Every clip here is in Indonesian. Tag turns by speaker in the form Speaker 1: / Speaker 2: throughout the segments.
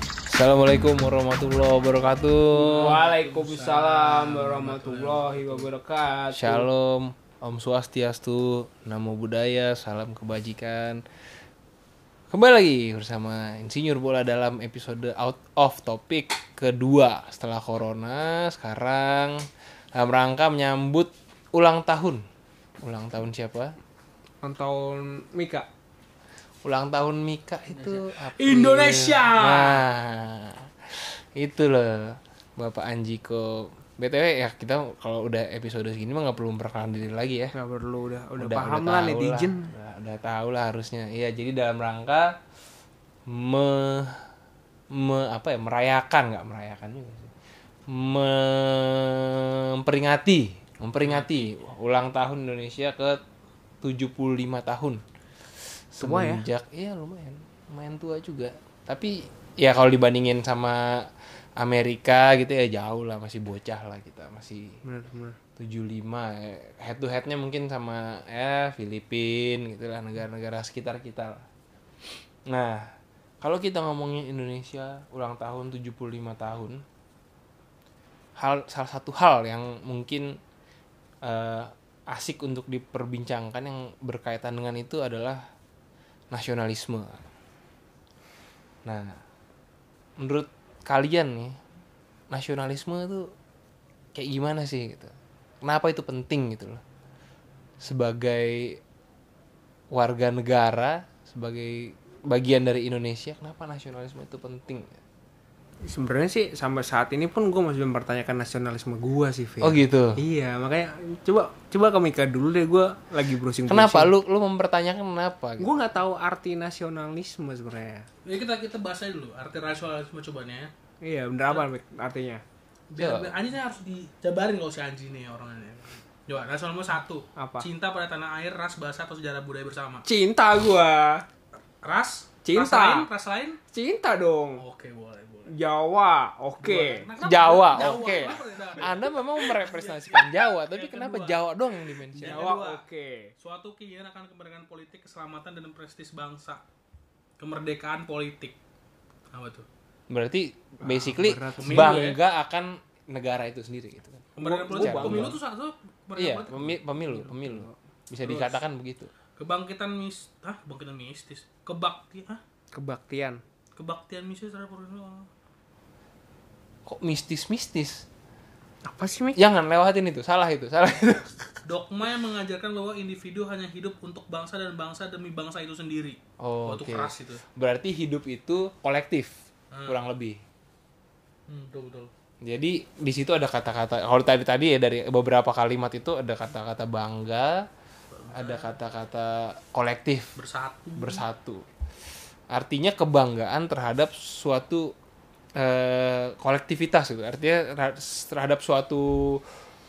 Speaker 1: Assalamualaikum warahmatullahi wabarakatuh.
Speaker 2: Waalaikumsalam warahmatullahi wabarakatuh.
Speaker 1: Shalom, Om Swastiastu, Namo Buddhaya, salam kebajikan. Kembali lagi bersama Insinyur Bola dalam episode Out of Topic kedua setelah Corona. Sekarang dalam rangka menyambut ulang tahun. Ulang tahun siapa?
Speaker 2: Ulang tahun Mika.
Speaker 1: Ulang tahun Mika itu April.
Speaker 2: Indonesia.
Speaker 1: Nah, itu loh Bapak Anjiko. BTW ya kita kalau udah episode segini mah nggak perlu memperkenalkan diri lagi ya.
Speaker 2: Gak perlu udah udah,
Speaker 1: Udah-
Speaker 2: paham
Speaker 1: udah
Speaker 2: lah
Speaker 1: tahu
Speaker 2: netizen.
Speaker 1: Udah, udah tahu lah harusnya. Iya, jadi dalam rangka me, me- apa ya merayakan nggak merayakan juga sih. Memperingati, memperingati ulang tahun Indonesia ke 75 tahun.
Speaker 2: Tua ya?
Speaker 1: Semenjak iya lumayan, lumayan tua juga. Tapi ya kalau dibandingin sama Amerika gitu ya jauh lah masih bocah lah kita masih
Speaker 2: Bener bener.
Speaker 1: 75 eh, head to headnya mungkin sama ya Filipin gitulah negara-negara sekitar kita lah. Nah, kalau kita ngomongin Indonesia ulang tahun 75 tahun hal salah satu hal yang mungkin eh, asik untuk diperbincangkan yang berkaitan dengan itu adalah nasionalisme. Nah, menurut kalian nih nasionalisme itu kayak gimana sih gitu kenapa itu penting gitu loh sebagai warga negara sebagai bagian dari Indonesia kenapa nasionalisme itu penting
Speaker 2: Sebenarnya sih sampai saat ini pun gue masih mempertanyakan nasionalisme gue sih, Fe.
Speaker 1: oh gitu
Speaker 2: Iya, makanya coba coba ke Mika dulu deh gue lagi browsing.
Speaker 1: kenapa lu lu mempertanyakan kenapa gitu?
Speaker 2: Gue nggak tahu arti nasionalisme sebenarnya.
Speaker 3: Ya kita kita bahas aja dulu arti rasionalisme cobanya ya.
Speaker 2: Iya, bener apa Mik, artinya?
Speaker 3: Biar,
Speaker 1: Coba.
Speaker 3: biar Anji ini harus dijabarin kalau si Anji nih orangnya. Coba nasionalisme satu.
Speaker 2: Apa?
Speaker 3: Cinta pada tanah air, ras, bahasa atau sejarah budaya bersama.
Speaker 2: Cinta gua.
Speaker 3: Ras?
Speaker 2: Cinta.
Speaker 3: Ras lain, ras lain.
Speaker 2: Cinta dong.
Speaker 3: Oke, boleh, boleh.
Speaker 2: Jawa, oke.
Speaker 3: Nah, kenapa-
Speaker 1: Jawa, oke.
Speaker 3: kenapa ya, tidak?
Speaker 1: Anda memang merepresentasikan Jawa tapi kenapa Jawa doang yang dimention
Speaker 2: Jawa,
Speaker 3: kedua.
Speaker 2: oke.
Speaker 3: Suatu keinginan akan kemerdekaan politik, keselamatan dan prestis bangsa. Kemerdekaan politik. Apa tuh?
Speaker 1: berarti basically
Speaker 2: Ah, berat. ya.
Speaker 3: Pemilu
Speaker 1: bangga akan negara itu sendiri gitu kan
Speaker 3: Kemerdekaan
Speaker 2: Gua-
Speaker 3: politik.
Speaker 1: gua
Speaker 3: Pemilu tuh satu kemerdekaan
Speaker 1: iya
Speaker 3: politik.
Speaker 1: pemi- pemilu pemilu bisa dikatakan begitu
Speaker 3: Kebangkitan mis, ah, kebangkitan mistis. Kebakti, ah,
Speaker 2: Kebaktian.
Speaker 3: kebaktian mistis terhadap orang
Speaker 1: kok mistis-mistis
Speaker 2: Apa sih, Mik?
Speaker 1: jangan lewatin itu salah itu salah itu
Speaker 3: Dogma yang mengajarkan bahwa individu hanya hidup untuk bangsa dan bangsa demi bangsa itu sendiri.
Speaker 1: Oh,
Speaker 3: Waktu
Speaker 1: oke.
Speaker 3: keras itu.
Speaker 1: Berarti hidup itu kolektif, kurang lebih.
Speaker 3: Hmm, betul betul.
Speaker 1: Jadi di situ ada kata-kata kalau tadi tadi ya dari beberapa kalimat itu ada kata-kata bangga, ada kata-kata kolektif,
Speaker 3: Bersatu.
Speaker 1: bersatu. Artinya kebanggaan terhadap suatu eh, kolektivitas gitu. Artinya terha- terhadap suatu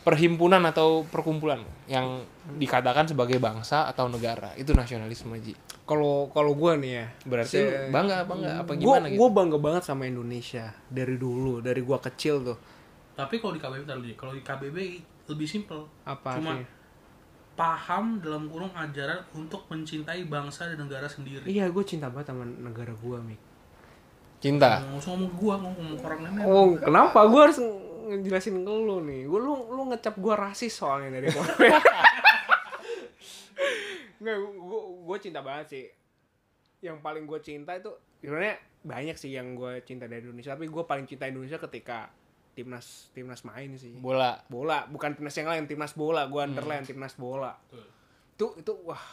Speaker 1: perhimpunan atau perkumpulan yang dikatakan sebagai bangsa atau negara. Itu nasionalisme, Ji.
Speaker 2: Kalau kalau gua nih ya,
Speaker 1: Berarti
Speaker 2: Se-
Speaker 1: lu bangga bangga apa
Speaker 2: gue
Speaker 1: gimana gitu?
Speaker 2: gue bangga banget sama Indonesia dari dulu dari gua kecil tuh
Speaker 3: Tapi kalau di KBB taruh dulu. Kalau di KBB lebih simpel.
Speaker 2: apa
Speaker 3: Cuma
Speaker 2: artinya?
Speaker 3: paham dalam kurung ajaran untuk mencintai bangsa dan negara sendiri.
Speaker 2: iya gue cinta banget sama negara gua Mik
Speaker 1: Cinta.
Speaker 3: Nggak usah ngomong gua, ngomong orang lain. ya. aja.
Speaker 2: oh kenapa gua harus ngejelasin ke lu nih gua lu lu ngecap gua rasis soalnya dari kemarin nggak gue gue cinta banget sih yang paling gue cinta itu sebenarnya banyak sih yang gue cinta dari Indonesia tapi gue paling cinta Indonesia ketika timnas timnas main sih
Speaker 1: bola
Speaker 2: bola bukan timnas yang lain timnas bola
Speaker 1: Hmm.
Speaker 2: gue underline timnas bola
Speaker 3: Betul.
Speaker 2: itu itu wah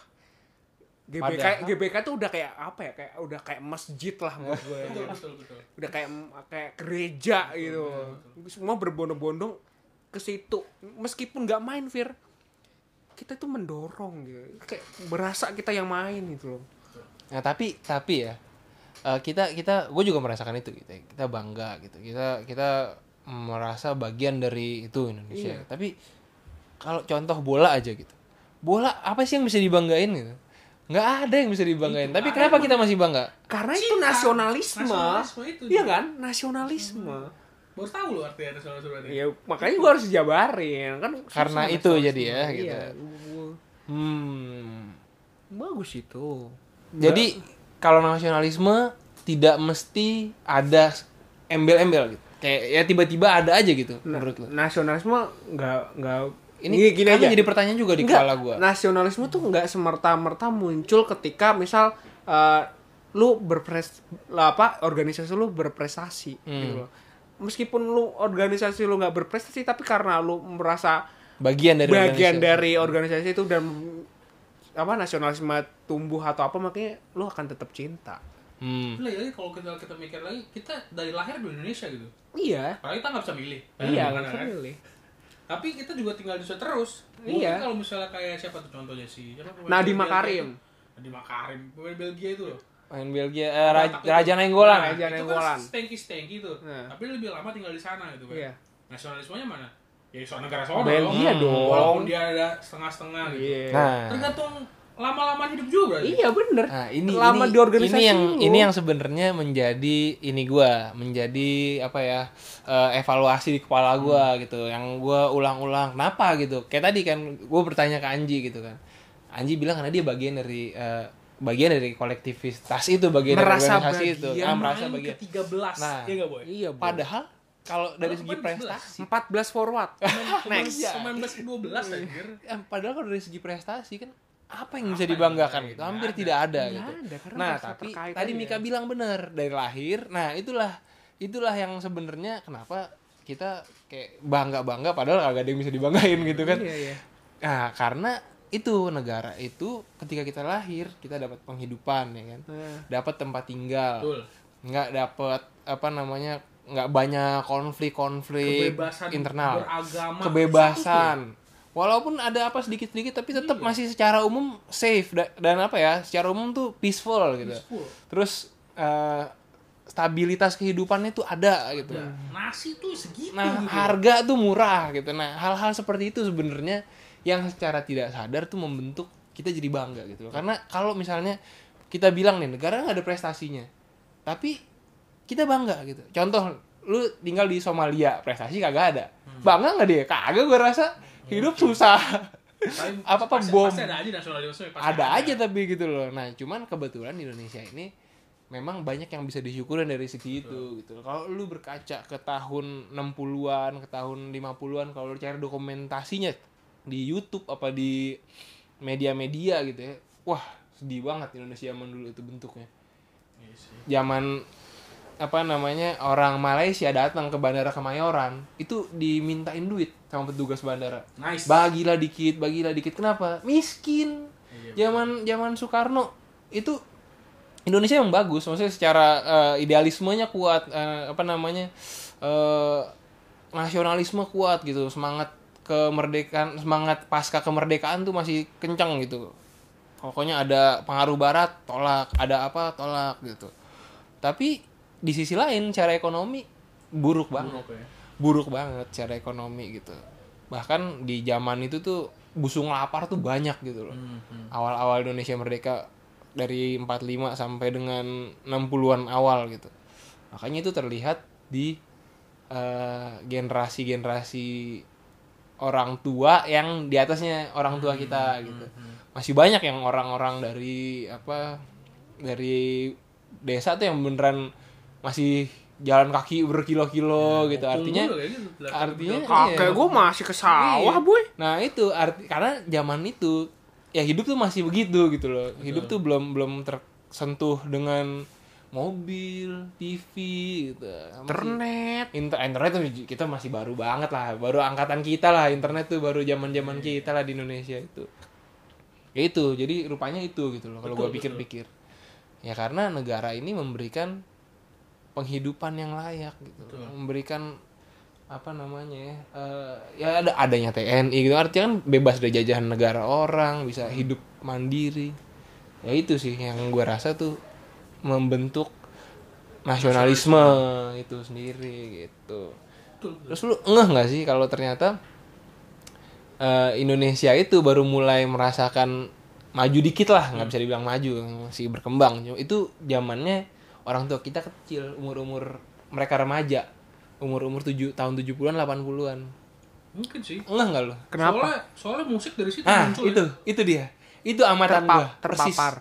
Speaker 2: GBK
Speaker 1: Padahal-
Speaker 2: GBK tuh udah kayak apa ya kayak udah kayak masjid lah menurut gue
Speaker 3: Betul, betul, betul.
Speaker 2: udah kayak kayak gereja gitu semua berbondong-bondong ke situ meskipun nggak main Fir kita tuh mendorong gitu kayak berasa kita yang main gitu loh
Speaker 1: nah tapi tapi ya eh, kita kita gue juga merasakan itu gitu ya. kita bangga gitu kita kita merasa bagian dari itu Indonesia tapi kalau contoh bola aja gitu bola apa sih yang bisa dibanggain gitu nggak ada yang bisa dibanggain tapi kenapa kita masih bangga
Speaker 2: karena itu
Speaker 3: Cinta.
Speaker 2: nasionalisme,
Speaker 3: Nasionalisme itu,
Speaker 2: iya
Speaker 3: Ji.
Speaker 2: kan nasionalisme
Speaker 1: Hmm.
Speaker 3: Baru tahu loh arti nasionalisme berarti.
Speaker 2: ya makanya gue harus jabarin kan
Speaker 1: Karena
Speaker 2: susah
Speaker 1: itu
Speaker 2: nasionalisme.
Speaker 1: jadi ya,
Speaker 2: Iya,
Speaker 1: gitu.
Speaker 2: gua-
Speaker 1: hmm
Speaker 2: bagus itu
Speaker 1: jadi kalau nasionalisme tidak mesti ada embel-embel gitu. Kayak ya tiba-tiba ada aja gitu menurut lo.
Speaker 2: nasionalisme nggak nggak
Speaker 1: Ini karena jadi pertanyaan juga di
Speaker 2: Nggak,
Speaker 1: kepala gua.
Speaker 2: Nasionalisme tuh nggak semerta-merta muncul ketika misal eh, lu berpres lah apa organisasi lu berprestasi gitu
Speaker 1: Hmm.
Speaker 2: loh. Meskipun lu organisasi lu nggak berprestasi tapi karena lu merasa
Speaker 1: bagian dari
Speaker 2: bagian
Speaker 1: organisasi.
Speaker 2: dari organisasi itu dan apa nasionalisme tumbuh atau apa makanya lu akan tetap cinta.
Speaker 1: Hmm.
Speaker 3: Tapi lagi-lagi kalau kita, kita mikir lagi, kita dari lahir di Indonesia gitu.
Speaker 2: Iya.
Speaker 3: Padahal kita nggak bisa milih.
Speaker 2: Iya,
Speaker 3: Bener
Speaker 2: nggak
Speaker 3: kan?
Speaker 2: bisa milih.
Speaker 3: Tapi kita juga tinggal di sana terus. Mungkin
Speaker 2: Iya.
Speaker 3: kalau misalnya kayak siapa tuh contohnya si siapa pemain
Speaker 2: Nadiem
Speaker 3: Belgia
Speaker 2: Makarim.
Speaker 3: itu? Nadiem Makarim, pemain Belgia itu loh.
Speaker 1: Main Belgia eh, Ra-
Speaker 3: Otak itu.
Speaker 1: Raja Nainggolan.
Speaker 2: Raja Nenggolan.
Speaker 3: Itu kan stengki-stengki tuh.
Speaker 2: Nah.
Speaker 3: Tapi lebih lama tinggal di sana gitu kan.
Speaker 2: Iya.
Speaker 3: Nasionalismenya mana? Ya soal negara sono.
Speaker 2: Belgia
Speaker 3: dong.
Speaker 2: dong.
Speaker 3: Walaupun dia ada setengah-setengah gitu.
Speaker 2: Iya.
Speaker 1: Nah.
Speaker 3: Tergantung lama-lama hidup juga berarti.
Speaker 2: Iya bener.
Speaker 1: Nah, ini
Speaker 2: Lama
Speaker 1: ini,
Speaker 2: di organisasi
Speaker 1: ini yang
Speaker 2: lu.
Speaker 1: ini yang sebenarnya menjadi ini gua, menjadi apa ya? eh, evaluasi di kepala gua gitu. Yang gua ulang-ulang kenapa gitu. Kayak tadi kan gua bertanya ke Anji gitu kan. Anji bilang karena dia bagian dari eh, bagian dari kolektivitas itu, bagian
Speaker 2: Merasa
Speaker 1: dari organisasi itu.
Speaker 2: bagian,
Speaker 1: Ah, merasa
Speaker 3: Main
Speaker 1: bagian.
Speaker 3: ke-13.
Speaker 1: Nah.
Speaker 3: Iya nggak, Boy? kan
Speaker 2: Iya, Bro.
Speaker 1: Padahal kalau dari
Speaker 3: Orang
Speaker 1: segi
Speaker 3: kemarin
Speaker 1: prestasi
Speaker 2: 14 forward. Next. Iya.
Speaker 1: Iya.
Speaker 3: Pemain belas 12 anjir.
Speaker 1: Ya, padahal kalau dari segi prestasi kan apa yang bisa dibanggakan
Speaker 3: yang
Speaker 1: gitu
Speaker 3: ada?
Speaker 1: hampir tidak ada
Speaker 2: Nggak
Speaker 1: gitu
Speaker 2: ada, karena
Speaker 1: nah
Speaker 2: merasa
Speaker 1: tapi
Speaker 2: terkait
Speaker 1: tadi
Speaker 2: aja.
Speaker 1: Mika bilang bener dari lahir nah itulah itulah yang sebenarnya kenapa kita kayak bangga bangga padahal kagak ada yang bisa dibanggain gitu kan
Speaker 2: Iya, iya.
Speaker 1: nah karena itu negara itu ketika kita lahir kita dapat penghidupan ya kan
Speaker 2: Nah.
Speaker 1: dapat tempat tinggal
Speaker 3: Betul.
Speaker 1: nggak dapat apa namanya nggak banyak konflik-konflik
Speaker 3: Kebebasan
Speaker 1: internal
Speaker 3: beragama. ya?
Speaker 1: kebebasan walaupun ada apa sedikit-sedikit tapi
Speaker 3: Iya.
Speaker 1: tetap masih secara umum safe da- dan apa ya secara umum tuh peaceful gitu
Speaker 3: Peaceful.
Speaker 1: terus eh, stabilitas kehidupannya tuh ada gitu
Speaker 2: Iya.
Speaker 3: Nah, Nasi tuh segitu
Speaker 1: nah
Speaker 3: gitu.
Speaker 1: harga tuh murah gitu nah hal-hal seperti itu sebenarnya yang secara tidak sadar tuh membentuk kita jadi bangga gitu loh karena kalau misalnya kita bilang nih negara nggak ada prestasinya tapi kita bangga gitu contoh lu tinggal di Somalia prestasi kagak ada bangga nggak dia kagak gue rasa hidup susah
Speaker 3: Tapi
Speaker 1: apa apa
Speaker 3: pasti-
Speaker 1: bom
Speaker 3: Pasti ada aja nasionalisme. pasti
Speaker 1: ada aja tapi gitu loh nah cuman kebetulan di Indonesia ini memang banyak yang bisa disyukurin dari segi itu gitu loh. kalau lu berkaca ke tahun 60-an ke tahun 50-an kalau lu cari dokumentasinya di YouTube apa di media-media gitu ya wah sedih banget Indonesia zaman dulu itu bentuknya
Speaker 3: Iya sih.
Speaker 1: zaman apa namanya orang Malaysia datang ke bandara Kemayoran itu dimintain duit sama petugas bandara
Speaker 3: Nice.
Speaker 1: bagilah dikit bagilah dikit kenapa miskin
Speaker 3: Iya,
Speaker 1: zaman zaman Soekarno itu Indonesia yang bagus maksudnya secara eh, idealismenya kuat eh, apa namanya eh, nasionalisme kuat gitu semangat kemerdekaan semangat pasca kemerdekaan tuh masih kencang gitu pokoknya ada pengaruh barat tolak ada apa tolak gitu tapi di sisi lain secara ekonomi buruk banget
Speaker 3: Buruk ya.
Speaker 1: buruk banget secara ekonomi gitu bahkan di zaman itu tuh busung lapar tuh banyak gitu loh awal-awal Indonesia merdeka dari 45 sampai dengan 60-an awal gitu makanya itu terlihat di eh, generasi-generasi orang tua yang di atasnya orang tua kita gitu masih banyak yang orang-orang dari apa dari desa tuh yang beneran masih jalan kaki berkilo-kilo gitu artinya
Speaker 3: Unggul kayak gitu. Lah,
Speaker 1: artinya
Speaker 2: Kakek
Speaker 1: iya.
Speaker 2: gue masih ke sawah, boy.
Speaker 1: Nah itu arti karena zaman itu ya hidup tuh masih begitu gitu loh. Hidup tuh belum belum tersentuh dengan mobil, TV gitu. Masih-
Speaker 2: Internet.
Speaker 1: Inter- internet tuh kita masih baru banget lah, baru angkatan kita lah internet tuh baru zaman zaman kita lah di Indonesia itu. Ya itu, jadi rupanya itu gitu loh kalau
Speaker 3: Betul,
Speaker 1: gua pikir-pikir. Ya karena negara ini memberikan penghidupan yang layak gitu, loh. memberikan apa namanya ya, eh, ya ada adanya TNI gitu artinya kan bebas dari jajahan negara orang, bisa
Speaker 3: Hmm.
Speaker 1: hidup mandiri. Ya itu sih yang gua rasa tuh membentuk nasionalisme, itu sendiri gitu.
Speaker 3: Betul, betul.
Speaker 1: Terus lu ngeh nggak sih kalau ternyata eh, Indonesia itu baru mulai merasakan maju dikit lah, nggak bisa dibilang maju, masih berkembang. Cuma Itu zamannya orang tua kita kecil, umur-umur mereka remaja, umur-umur 7 tahun 70-an, 80-an.
Speaker 3: Mungkin sih.
Speaker 1: Ngeh nggak lu?
Speaker 2: Kenapa?
Speaker 3: Soalnya, soalnya musik dari situ
Speaker 1: Ah,
Speaker 3: muncul.
Speaker 1: itu,
Speaker 3: ya.
Speaker 1: itu dia. Itu amatan
Speaker 2: Terpa-
Speaker 1: gua, persis.
Speaker 2: terpapar.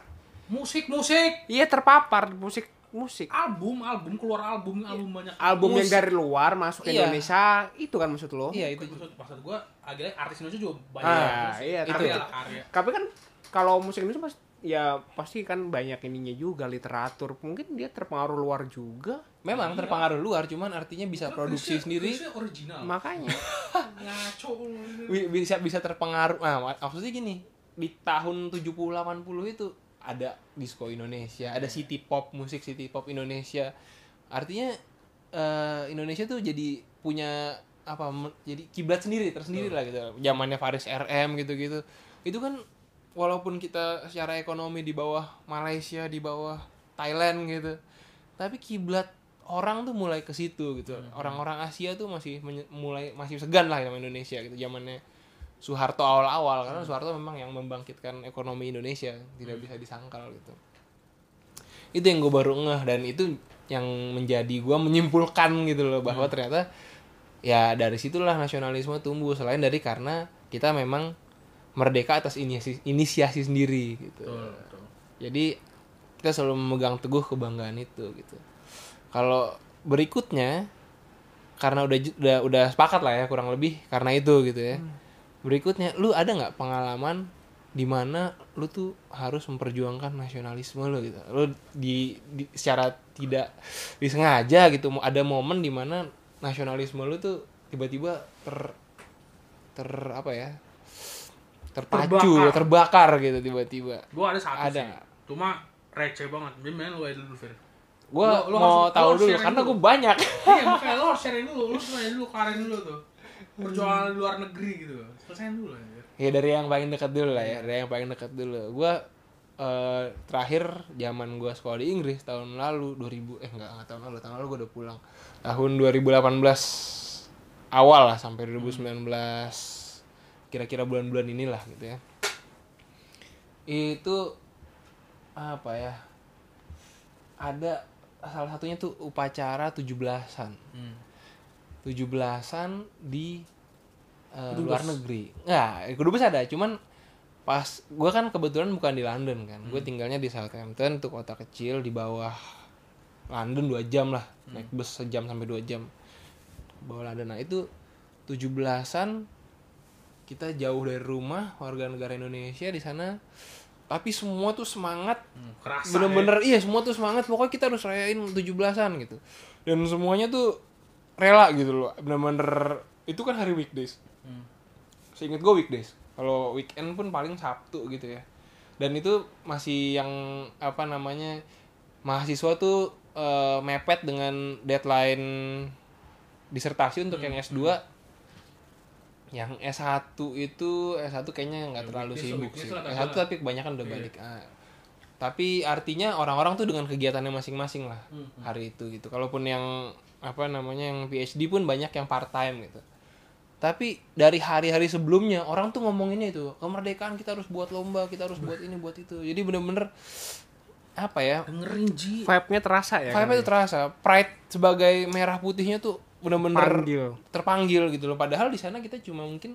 Speaker 3: Musik, musik.
Speaker 2: Iya terpapar musik musik
Speaker 3: album album keluar
Speaker 1: Iya.
Speaker 3: album album banyak
Speaker 2: album yang
Speaker 1: Musik.
Speaker 2: dari luar masuk ke
Speaker 1: Iya.
Speaker 2: Indonesia itu kan maksud lo
Speaker 1: iya
Speaker 3: itu
Speaker 1: itu
Speaker 3: maksud, maksud gue akhirnya artis Indonesia juga banyak
Speaker 2: Ah,
Speaker 3: Terus
Speaker 2: iya,
Speaker 3: karya
Speaker 2: tapi-
Speaker 3: lah karya
Speaker 2: tapi kan kalau musik Indonesia mas ya pasti kan banyak ininya juga literatur mungkin dia terpengaruh luar juga
Speaker 1: memang
Speaker 3: Iya.
Speaker 1: terpengaruh luar cuman artinya bisa produksi
Speaker 3: Krisnya-
Speaker 1: sendiri
Speaker 3: Krisnya original
Speaker 2: makanya
Speaker 3: ngaco lu
Speaker 1: Wi-
Speaker 3: ini.
Speaker 1: bisa bisa terpengaruh nah mak- maksudnya gini di tahun 70 80 itu ada disco Indonesia ada city pop musik city pop Indonesia artinya eh, Indonesia tuh jadi punya apa me- jadi kiblat sendiri tersendiri lah gitu zamannya Faris RM gitu gitu itu kan walaupun kita secara ekonomi di bawah Malaysia di bawah Thailand gitu tapi kiblat orang tuh mulai ke situ gitu orang-orang Asia tuh masih menye- mulai masih segan lah sama Indonesia gitu zamannya Soeharto awal-awal karena Soeharto memang yang membangkitkan ekonomi Indonesia tidak bisa disangkal gitu itu yang gue baru ngeh dan itu yang menjadi gue menyimpulkan gitu loh bahwa ternyata ya dari situlah nasionalisme tumbuh selain dari karena kita memang merdeka atas inisiasi, inisiasi sendiri gitu
Speaker 3: Betul, betul.
Speaker 1: jadi kita selalu memegang teguh kebanggaan itu gitu kalau berikutnya karena udah ju- udah udah sepakat lah ya kurang lebih karena itu gitu ya berikutnya lu ada nggak pengalaman di mana lu tuh harus memperjuangkan nasionalisme lu gitu lu di, di- secara tidak disengaja gitu mo- ada momen di mana nasionalisme lu tuh tiba-tiba ter ter apa ya terpacu terbakar,
Speaker 3: Terbakar.
Speaker 1: gitu tiba-tiba
Speaker 3: gue ada satu
Speaker 1: Ada.
Speaker 3: sih cuma receh banget mendingan lu aja dulu Fir
Speaker 1: gue
Speaker 3: Lu- lu
Speaker 1: mau
Speaker 3: harus- lu
Speaker 1: tahu
Speaker 3: harus
Speaker 1: dulu
Speaker 3: sharing
Speaker 1: karena
Speaker 3: dulu.
Speaker 1: gue banyak
Speaker 3: iya makanya lo harus sharing dulu lu sharing dulu karir dulu tuh perjuangan di luar negeri gitu selesain dulu anjir
Speaker 1: ya dari yang paling dekat dulu lah ya dari yang paling dekat dulu gue terakhir zaman gue sekolah di Inggris tahun lalu 2000 eh enggak, tahun lalu tahun lalu gue udah pulang tahun 2018 awal lah sampai
Speaker 3: Hmm.
Speaker 1: 2019 kira-kira bulan-bulan inilah gitu ya itu apa ya ada salah satunya tuh upacara 17-an
Speaker 3: Hmm,
Speaker 1: 17-an di eh, luar negeri. Nah, Kudubes ada, cuman pas gue kan kebetulan bukan di London kan. Gue tinggalnya di Southampton, itu kota kecil di bawah London 2 jam lah. Naik bus sejam sampai 2 jam. Ke Bawah London. Nah, itu 17-an kita jauh dari rumah warga negara Indonesia di sana. Tapi semua tuh semangat
Speaker 3: Hmm, kerasa
Speaker 1: bener-bener iya semua tuh semangat pokoknya kita harus rayain 17-an gitu dan semuanya tuh rela gitu loh bener-bener itu kan hari weekdays
Speaker 3: Hmm.
Speaker 1: seinget gue weekdays kalau weekend pun paling sabtu gitu ya dan itu masih yang apa namanya mahasiswa tuh eh, mepet dengan deadline disertasi untuk
Speaker 3: Hmm.
Speaker 1: yang S2 yang S1 itu S1 kayaknya nggak
Speaker 3: Ya,
Speaker 1: terlalu
Speaker 3: weekdays lah,
Speaker 1: sibuk
Speaker 3: weekdays
Speaker 1: sih
Speaker 3: lah, Iya.
Speaker 1: S1
Speaker 3: kagak.
Speaker 1: tapi kebanyakan udah balik Ah. tapi artinya orang-orang tuh dengan kegiatannya masing-masing lah
Speaker 3: Hmm,
Speaker 1: hari itu gitu kalaupun yang apa namanya yang PhD pun banyak yang part time gitu tapi dari hari-hari sebelumnya orang tuh ngomonginnya itu kemerdekaan kita harus buat lomba kita harus buat ini buat itu jadi bener-bener apa ya
Speaker 3: dengerin ji
Speaker 2: vibe-nya terasa ya
Speaker 1: vibe itu terasa pride sebagai merah putihnya tuh bener-bener
Speaker 2: Terpanggil.
Speaker 1: terpanggil gitu loh padahal di sana kita cuma mungkin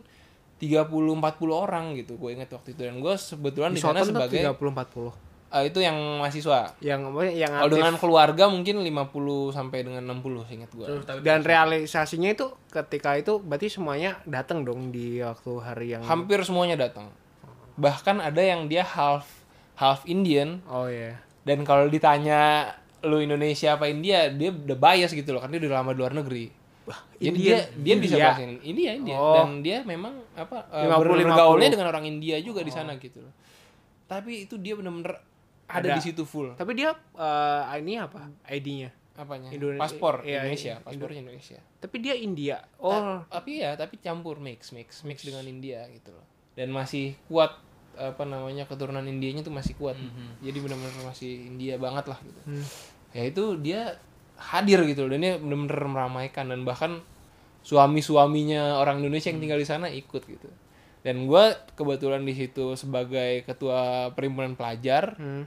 Speaker 1: 30 40 orang gitu gue inget waktu itu dan gue sebetulkan
Speaker 2: di
Speaker 1: di sana
Speaker 2: Southampton sebagai
Speaker 1: sebagai
Speaker 2: 30 40
Speaker 1: eh, itu yang mahasiswa
Speaker 2: yang yang
Speaker 1: kalau
Speaker 2: aktif.
Speaker 1: dengan keluarga mungkin 50 sampai dengan 60 seingat gue
Speaker 3: Terus, tapi
Speaker 2: dan realisasinya itu ketika itu berarti semuanya datang dong di waktu hari yang
Speaker 1: hampir semuanya datang bahkan ada yang dia half half Indian
Speaker 2: oh ya
Speaker 1: dan kalau ditanya lu Indonesia apa India dia udah bias gitu loh karena dia udah lama di luar negeri jadi dia dia bisa
Speaker 2: India.
Speaker 1: bahasa India India
Speaker 2: Oh.
Speaker 1: dan dia memang apa eh,
Speaker 2: 50-50.
Speaker 1: bergaulnya dengan orang India juga
Speaker 2: Oh.
Speaker 1: di sana gitu loh tapi itu dia bener-bener ada,
Speaker 2: Ada.
Speaker 1: di situ full
Speaker 2: tapi dia eh, ini apa ID-nya
Speaker 1: apanya
Speaker 2: Indone-
Speaker 1: paspor
Speaker 2: iya,
Speaker 1: Indonesia
Speaker 2: Indo-
Speaker 1: paspornya Indonesia
Speaker 2: tapi dia India oh
Speaker 1: Ta- tapi ya tapi campur mix mix mix dengan India gitu loh dan masih kuat apa namanya keturunan Indianya tuh masih kuat jadi benar-benar masih India banget lah gitu
Speaker 2: Mhm. Hmm.
Speaker 1: ya itu dia hadir gitu loh dan dia benar-benar meramaikan dan bahkan suami-suaminya orang Indonesia yang
Speaker 2: Hmm.
Speaker 1: tinggal di sana ikut gitu dan gue kebetulan di situ sebagai ketua perhimpunan pelajar
Speaker 2: Hmm.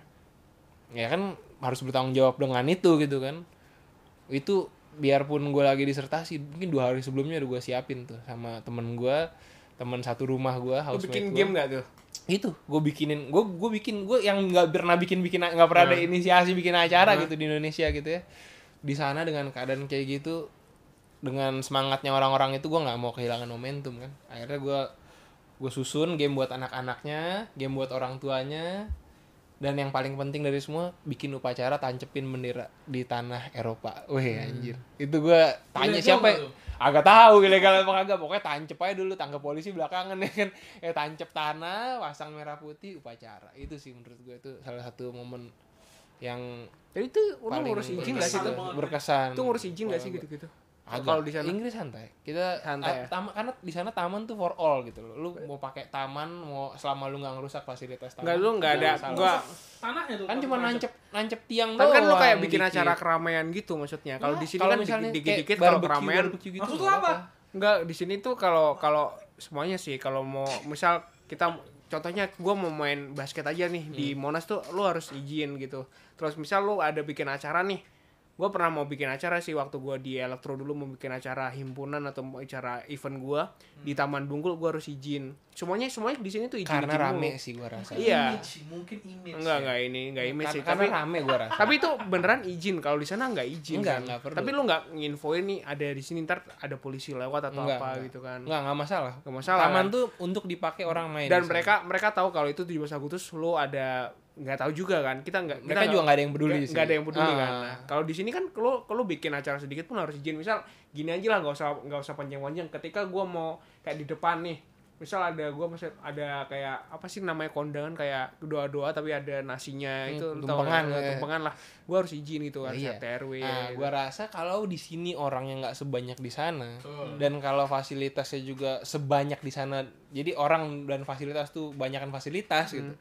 Speaker 1: ya kan harus bertanggung jawab dengan itu gitu kan itu biarpun gue lagi disertasi mungkin dua hari sebelumnya udah gue siapin tuh sama temen gue teman satu rumah gue
Speaker 2: Lu
Speaker 1: housemate
Speaker 2: bikin
Speaker 1: gua.
Speaker 2: game gak tuh
Speaker 1: itu gue Gitu, bikinin gue gue bikin gue yang nggak pernah bikin bikin nggak pernah ada inisiasi bikin acara gitu di Indonesia gitu ya di sana dengan keadaan kayak gitu dengan semangatnya orang-orang itu gue nggak mau kehilangan momentum kan akhirnya gue gue susun game buat anak-anaknya game buat orang tuanya dan yang paling penting dari semua bikin upacara tancepin bendera di tanah Eropa weh anjir itu gue tanya
Speaker 3: Ilegal
Speaker 1: siapa
Speaker 3: nggak
Speaker 1: ya?
Speaker 3: tuh?
Speaker 1: agak tahu ilegal apa kagak pokoknya tancep aja dulu tangkap polisi belakangan ya kan ya tancep tanah pasang merah putih upacara itu sih menurut gue itu salah satu momen yang
Speaker 2: Jadi itu lu ngurus izin nggak sih?
Speaker 1: berkesan,
Speaker 2: Itu
Speaker 3: tuh?
Speaker 1: berkesan
Speaker 2: Itu ngurus izin nggak sih
Speaker 1: Kalau-
Speaker 2: gitu-gitu?
Speaker 1: Agak.
Speaker 2: Kalau di sana?
Speaker 1: Inggris santai. Kita
Speaker 2: Santai ya?
Speaker 1: ah, tama- karena di sana taman tuh for all gitu loh. Lu mau pakai taman, mau selama lu nggak ngerusak fasilitas taman.
Speaker 2: Enggak lu nggak ada
Speaker 1: masalah.
Speaker 2: gua
Speaker 3: Tanahnya tuh.
Speaker 1: kan
Speaker 3: kalau
Speaker 1: cuma
Speaker 3: ditancap.
Speaker 1: nancep nancep tiang
Speaker 2: kan kan lu
Speaker 1: doang
Speaker 2: kayak bikin
Speaker 1: dikit.
Speaker 2: acara keramaian gitu maksudnya. Kalau
Speaker 1: Nah,
Speaker 2: di sini
Speaker 1: ya. kalau
Speaker 2: kan
Speaker 1: misalnya
Speaker 2: dikit-dikit
Speaker 1: kayak
Speaker 2: kalau
Speaker 1: barbecue-
Speaker 2: keramaian
Speaker 1: barbecue gitu
Speaker 3: Maksud lu
Speaker 1: nggak
Speaker 3: apa?
Speaker 2: Enggak, di sini tuh kalau kalau semuanya sih kalau mau misal kita contohnya gua mau main basket aja nih di
Speaker 1: Hmm.
Speaker 2: Monas tuh lu harus izin gitu. Terus misal lu ada bikin acara nih. Gua pernah mau bikin acara sih waktu gua di Elektro dulu mau bikin acara himpunan atau mau acara event gua di Taman Bungkul gua harus izin. Semuanya semuanya di sini tuh izin.
Speaker 1: Hmm. Karena rame sih gua rasa.
Speaker 3: Mungkin
Speaker 2: Iya.
Speaker 3: image sih, mungkin image.
Speaker 2: Enggak,
Speaker 3: ya.
Speaker 2: enggak ini, enggak image sih.
Speaker 1: Karena,
Speaker 2: Tapi
Speaker 1: karena rame gua rasa.
Speaker 2: tapi itu beneran izin kalau di sana nggak izin
Speaker 1: Nggak,
Speaker 2: kan?
Speaker 1: nggak perlu.
Speaker 2: tapi lu nggak nginfoin nih ada di sini ntar ada polisi lewat atau
Speaker 1: Nggak,
Speaker 2: apa
Speaker 1: nggak.
Speaker 2: gitu kan
Speaker 1: Enggak, enggak masalah.
Speaker 2: Nggak masalah,
Speaker 1: Taman
Speaker 2: kan?
Speaker 1: tuh untuk dipakai orang main.
Speaker 2: dan
Speaker 1: di sana.
Speaker 2: mereka mereka tahu kalau itu 17 Agustus lu ada nggak tahu juga kan kita nggak
Speaker 1: mereka juga nggak ada yang peduli
Speaker 2: nggak
Speaker 1: sih.
Speaker 2: nggak ada yang peduli
Speaker 1: Ah.
Speaker 2: kan Nah, kalau di sini kan lu lu bikin acara sedikit pun harus izin misal gini aja lah nggak usah nggak usah panjang-panjang ketika gua mau kayak di depan nih misal ada gua masih ada kayak apa sih namanya kondangan kayak doa-doa tapi ada nasinya
Speaker 1: Hmm,
Speaker 2: itu lu
Speaker 1: tumpengan
Speaker 2: tahu,
Speaker 1: ya.
Speaker 2: tumpengan lah gua harus izin gitu harus
Speaker 1: Iya.
Speaker 2: RT RW
Speaker 1: Nah,
Speaker 2: gitu.
Speaker 1: gua rasa kalau di sini orangnya nggak sebanyak di sana
Speaker 3: Betul.
Speaker 1: dan kalau fasilitasnya juga sebanyak di sana, jadi orang dan fasilitas tuh banyakkan fasilitas
Speaker 2: Hmm.
Speaker 1: gitu.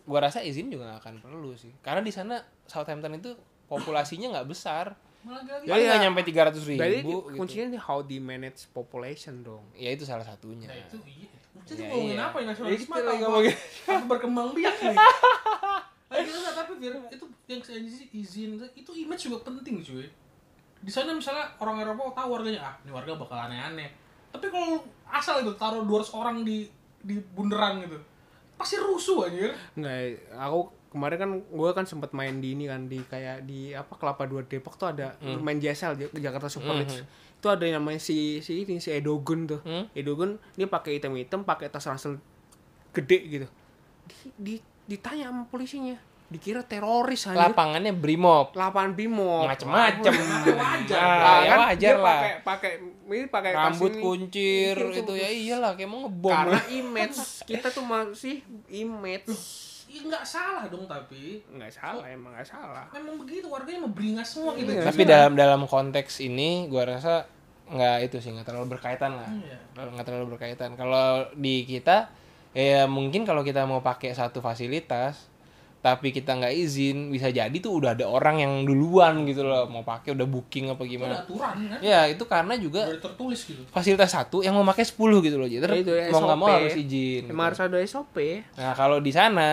Speaker 1: Gua rasa izin juga nggak akan perlu sih, karena di sana Southampton itu populasinya nggak besar,
Speaker 3: Malah gak gitu.
Speaker 1: paling nggak nyampe 300 ribu.
Speaker 2: Ya, Jadi
Speaker 1: gitu.
Speaker 2: kuncinya nih how they manage population dong.
Speaker 1: Ya itu salah satunya.
Speaker 3: Nah, itu iya. Kita
Speaker 1: Iya,
Speaker 3: tuh ngomongin
Speaker 1: iya.
Speaker 3: apa ya
Speaker 1: Ya,
Speaker 3: nasionalisme
Speaker 1: kita
Speaker 3: atau
Speaker 1: lagi
Speaker 3: apa?
Speaker 1: ngomongin.
Speaker 3: Apa berkembang biak nih. Lagi enggak tapi Fir, itu yang saya izin izin itu image juga penting cuy. Di sana misalnya orang Eropa tahu warganya ah ini warga bakal aneh-aneh. Tapi kalau asal itu taruh 200 orang di di bundaran gitu. Pasti rusuh anjir.
Speaker 2: Nggak, aku kemarin kan gue kan sempat main di ini kan di kayak di apa Kelapa Dua Depok tuh ada
Speaker 1: Hmm.
Speaker 2: main JSL Ja- Jakarta Super League. Itu ada yang namanya si si ini si Edogun tuh.
Speaker 1: Hmm.
Speaker 2: Edogun dia pakai item-item, pakai tas ransel gede gitu. Di, di- ditanya sama polisinya, dikira teroris anjir.
Speaker 1: Lapangannya Brimob,
Speaker 2: Lapangan Bimo. Iya, kan?
Speaker 1: macem-macem.
Speaker 3: Pakai wajar.
Speaker 1: Ah, ya wajar
Speaker 2: dia
Speaker 1: lah.
Speaker 2: pakai pakai ini pakai tas
Speaker 1: Rambut
Speaker 2: ini.
Speaker 1: kuncir
Speaker 2: Iya,
Speaker 1: itu ya iyalah kayak mau ngebom. Iya.
Speaker 2: Karena image kita tuh masih image.
Speaker 1: iya.
Speaker 3: Ya enggak salah dong tapi.
Speaker 2: nggak salah emang nggak salah
Speaker 3: Memang begitu warganya memberingas semua gitu.
Speaker 2: Iya.
Speaker 1: tapi dalam dalam konteks ini gua rasa nggak itu sih nggak terlalu berkaitan lah
Speaker 3: Iya.
Speaker 1: nggak terlalu berkaitan kalau di kita ya mungkin kalau kita mau pakai satu fasilitas tapi kita nggak izin bisa jadi tuh udah ada orang yang duluan gitu loh mau pakai udah booking apa
Speaker 3: Itu ada
Speaker 1: gimana
Speaker 3: aturan kan.
Speaker 1: ya itu karena juga
Speaker 3: Udah tertulis gitu.
Speaker 1: fasilitas satu yang mau pakai 10 gitu loh jadi
Speaker 2: Ya itu, ya,
Speaker 1: mau nggak mau
Speaker 2: SOP.
Speaker 1: harus izin gitu.
Speaker 2: emang harus ada SOP
Speaker 1: Nah, kalau di sana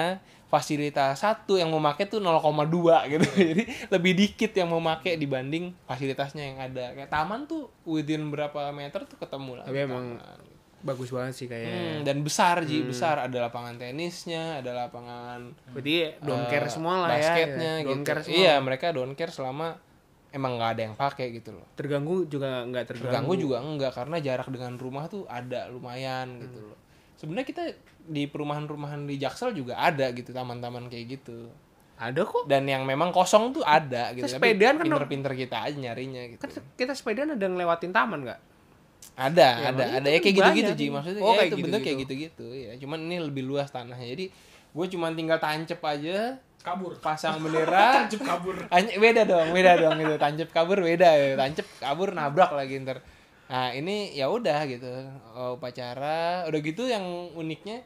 Speaker 1: fasilitas satu yang memakai tuh 0,2 gitu. Jadi lebih dikit yang memakai dibanding fasilitasnya yang ada. Kayak taman tuh within berapa meter tuh ketemu lah.
Speaker 2: tapi emang iya. Hmm.
Speaker 1: taman.
Speaker 2: bagus banget sih
Speaker 1: Hmm,
Speaker 2: kayaknya
Speaker 1: dan besar Ji, besar ada lapangan tenisnya, ada lapangan
Speaker 2: berarti don't
Speaker 1: eh,
Speaker 2: care semua lah ya
Speaker 1: basketnya
Speaker 2: ya.
Speaker 1: gitu.
Speaker 2: don't care semua
Speaker 1: Iya, mereka don't care selama emang nggak ada yang pakai gitu loh.
Speaker 2: terganggu juga nggak terganggu,
Speaker 1: Terganggu juga enggak karena jarak dengan rumah tuh ada
Speaker 2: Hmm.
Speaker 1: lumayan gitu loh. Sebenarnya kita di perumahan-perumahan di Jaksel juga ada gitu taman-taman kayak gitu.
Speaker 2: ada kok
Speaker 1: dan yang memang kosong tuh ada gitu.
Speaker 2: Terus
Speaker 1: Tapi
Speaker 2: sepedaan kan
Speaker 1: pinter-pinter kita aja nyarinya gitu.
Speaker 2: kan kita sepedaan ada ngelewatin taman nggak
Speaker 1: ada,
Speaker 2: Ya,
Speaker 1: ada,
Speaker 2: makanya
Speaker 1: ada
Speaker 2: itu
Speaker 1: ya kayak
Speaker 2: banyak.
Speaker 1: gitu-gitu Ji. Maksudnya
Speaker 2: Oh,
Speaker 1: ya
Speaker 2: kayak
Speaker 1: itu bentuk
Speaker 2: gitu-gitu.
Speaker 1: kayak gitu-gitu ya. Cuman ini lebih luas tanahnya. Jadi gue cuman tinggal tancep aja,
Speaker 3: Kabur.
Speaker 1: pasang bendera.
Speaker 3: Tancep kabur.
Speaker 1: Hanya- beda dong, beda dong gitu. Tancep kabur beda ya. Tancep kabur nabrak lagi ntar. Nah, ini ya udah gitu. Oh, upacara, udah gitu yang uniknya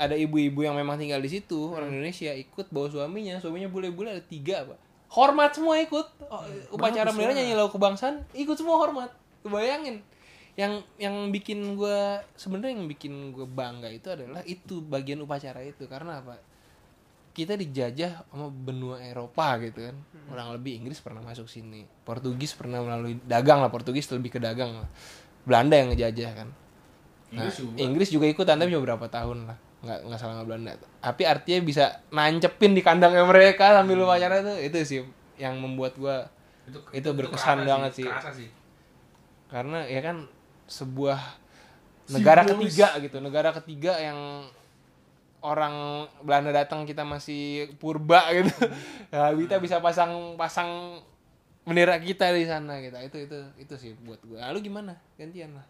Speaker 1: ada ibu-ibu yang memang tinggal di situ orang Indonesia ikut bawa suaminya suaminya bule-bule ada tiga pak hormat semua ikut Oh, upacara bendera nyanyi lagu kebangsaan ikut semua hormat bayangin yang yang bikin gua sebenarnya yang bikin gue bangga itu adalah itu bagian upacara itu karena apa kita dijajah sama benua Eropa gitu kan kurang lebih Inggris pernah masuk sini Portugis pernah melalui dagang lah Portugis lebih ke dagang lah Belanda yang ngejajah kan Nah, eh,
Speaker 3: Iya sih, gua.
Speaker 1: Inggris juga ikutan tapi cuma berapa tahun lah. nggak nggak salah nggak Belanda tapi artinya bisa nancepin di kandangnya mereka sambil lu pacaran tuh itu sih yang membuat gua
Speaker 3: itu
Speaker 1: Itu berkesan
Speaker 3: kerasa
Speaker 1: banget sih.
Speaker 3: kerasa sih
Speaker 1: karena ya kan sebuah negara
Speaker 3: Simbolis.
Speaker 1: ketiga gitu negara ketiga yang orang Belanda datang kita masih purba gitu
Speaker 2: Hmm.
Speaker 1: ya kita bisa pasang pasang bendera kita di sana gitu itu itu itu sih buat gue lalu gimana gantian lah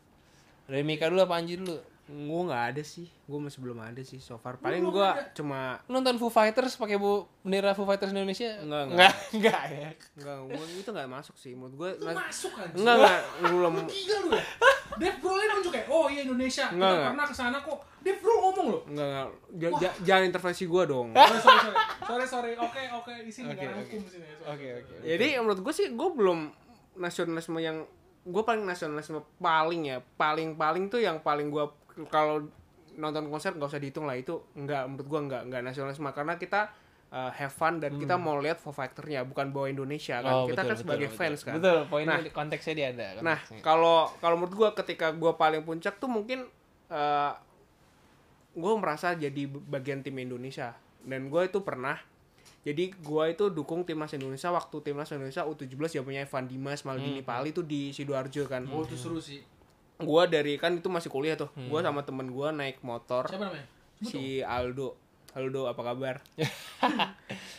Speaker 1: dari Mika dulu apa Anji dulu
Speaker 2: Gue nggak ada sih, gue masih belum ada sih so far. Paling
Speaker 3: belum
Speaker 2: gue
Speaker 3: ada.
Speaker 2: cuma
Speaker 1: Lu nonton Foo Fighters pakai bu bendera Foo Fighters Indonesia
Speaker 2: Enggak,
Speaker 1: enggak enggak ya
Speaker 2: nggak, gua itu nggak masuk sih menurut gue.
Speaker 3: itu masuk aja
Speaker 2: Enggak enggak, belum.
Speaker 3: Lu gila lu ya Dave Grohl nunjuk kayak oh iya Indonesia
Speaker 2: Enggak,
Speaker 3: kita
Speaker 2: enggak.
Speaker 3: pernah kesana kok Dave Grohl ngomong loh
Speaker 2: Enggak enggak, Ja- ja- jangan intervensi gue dong.
Speaker 3: sorry sorry sorry sorry sorry oke oke di sini
Speaker 1: Oke,
Speaker 3: karena
Speaker 1: oke.
Speaker 3: hukum di sini Sorry,
Speaker 1: Oke,
Speaker 3: sorry,
Speaker 1: oke.
Speaker 3: sorry.
Speaker 2: Jadi menurut gue sih gue belum nasionalisme yang gue paling nasionalisme paling ya paling paling tuh yang paling gue kalau nonton konser nggak usah dihitung lah itu nggak menurut gue nggak nggak nasionalisme karena kita uh, have fun
Speaker 1: Hmm.
Speaker 2: dan kita mau lihat Foo Fighter-nya bukan bawa Indonesia kan kita kan sebagai fans
Speaker 1: Oh,
Speaker 2: kan
Speaker 1: betul poinnya
Speaker 2: Nah.
Speaker 1: di- konteksnya dia ada
Speaker 2: Nah,
Speaker 1: konteksnya.
Speaker 2: kalau kalau menurut gua ketika gua paling puncak tuh mungkin eh gua merasa jadi bagian tim Indonesia dan gua itu pernah jadi gua itu dukung timnas Indonesia waktu timnas Indonesia U17 zamannya Evan Dimas, Maldini Pali itu di sidoarjo kan.
Speaker 3: oh itu seru sih
Speaker 2: Gua dari kan itu masih kuliah tuh. Gua sama temen gua naik motor
Speaker 3: siapa namanya
Speaker 2: si Aldo. Aldo apa kabar?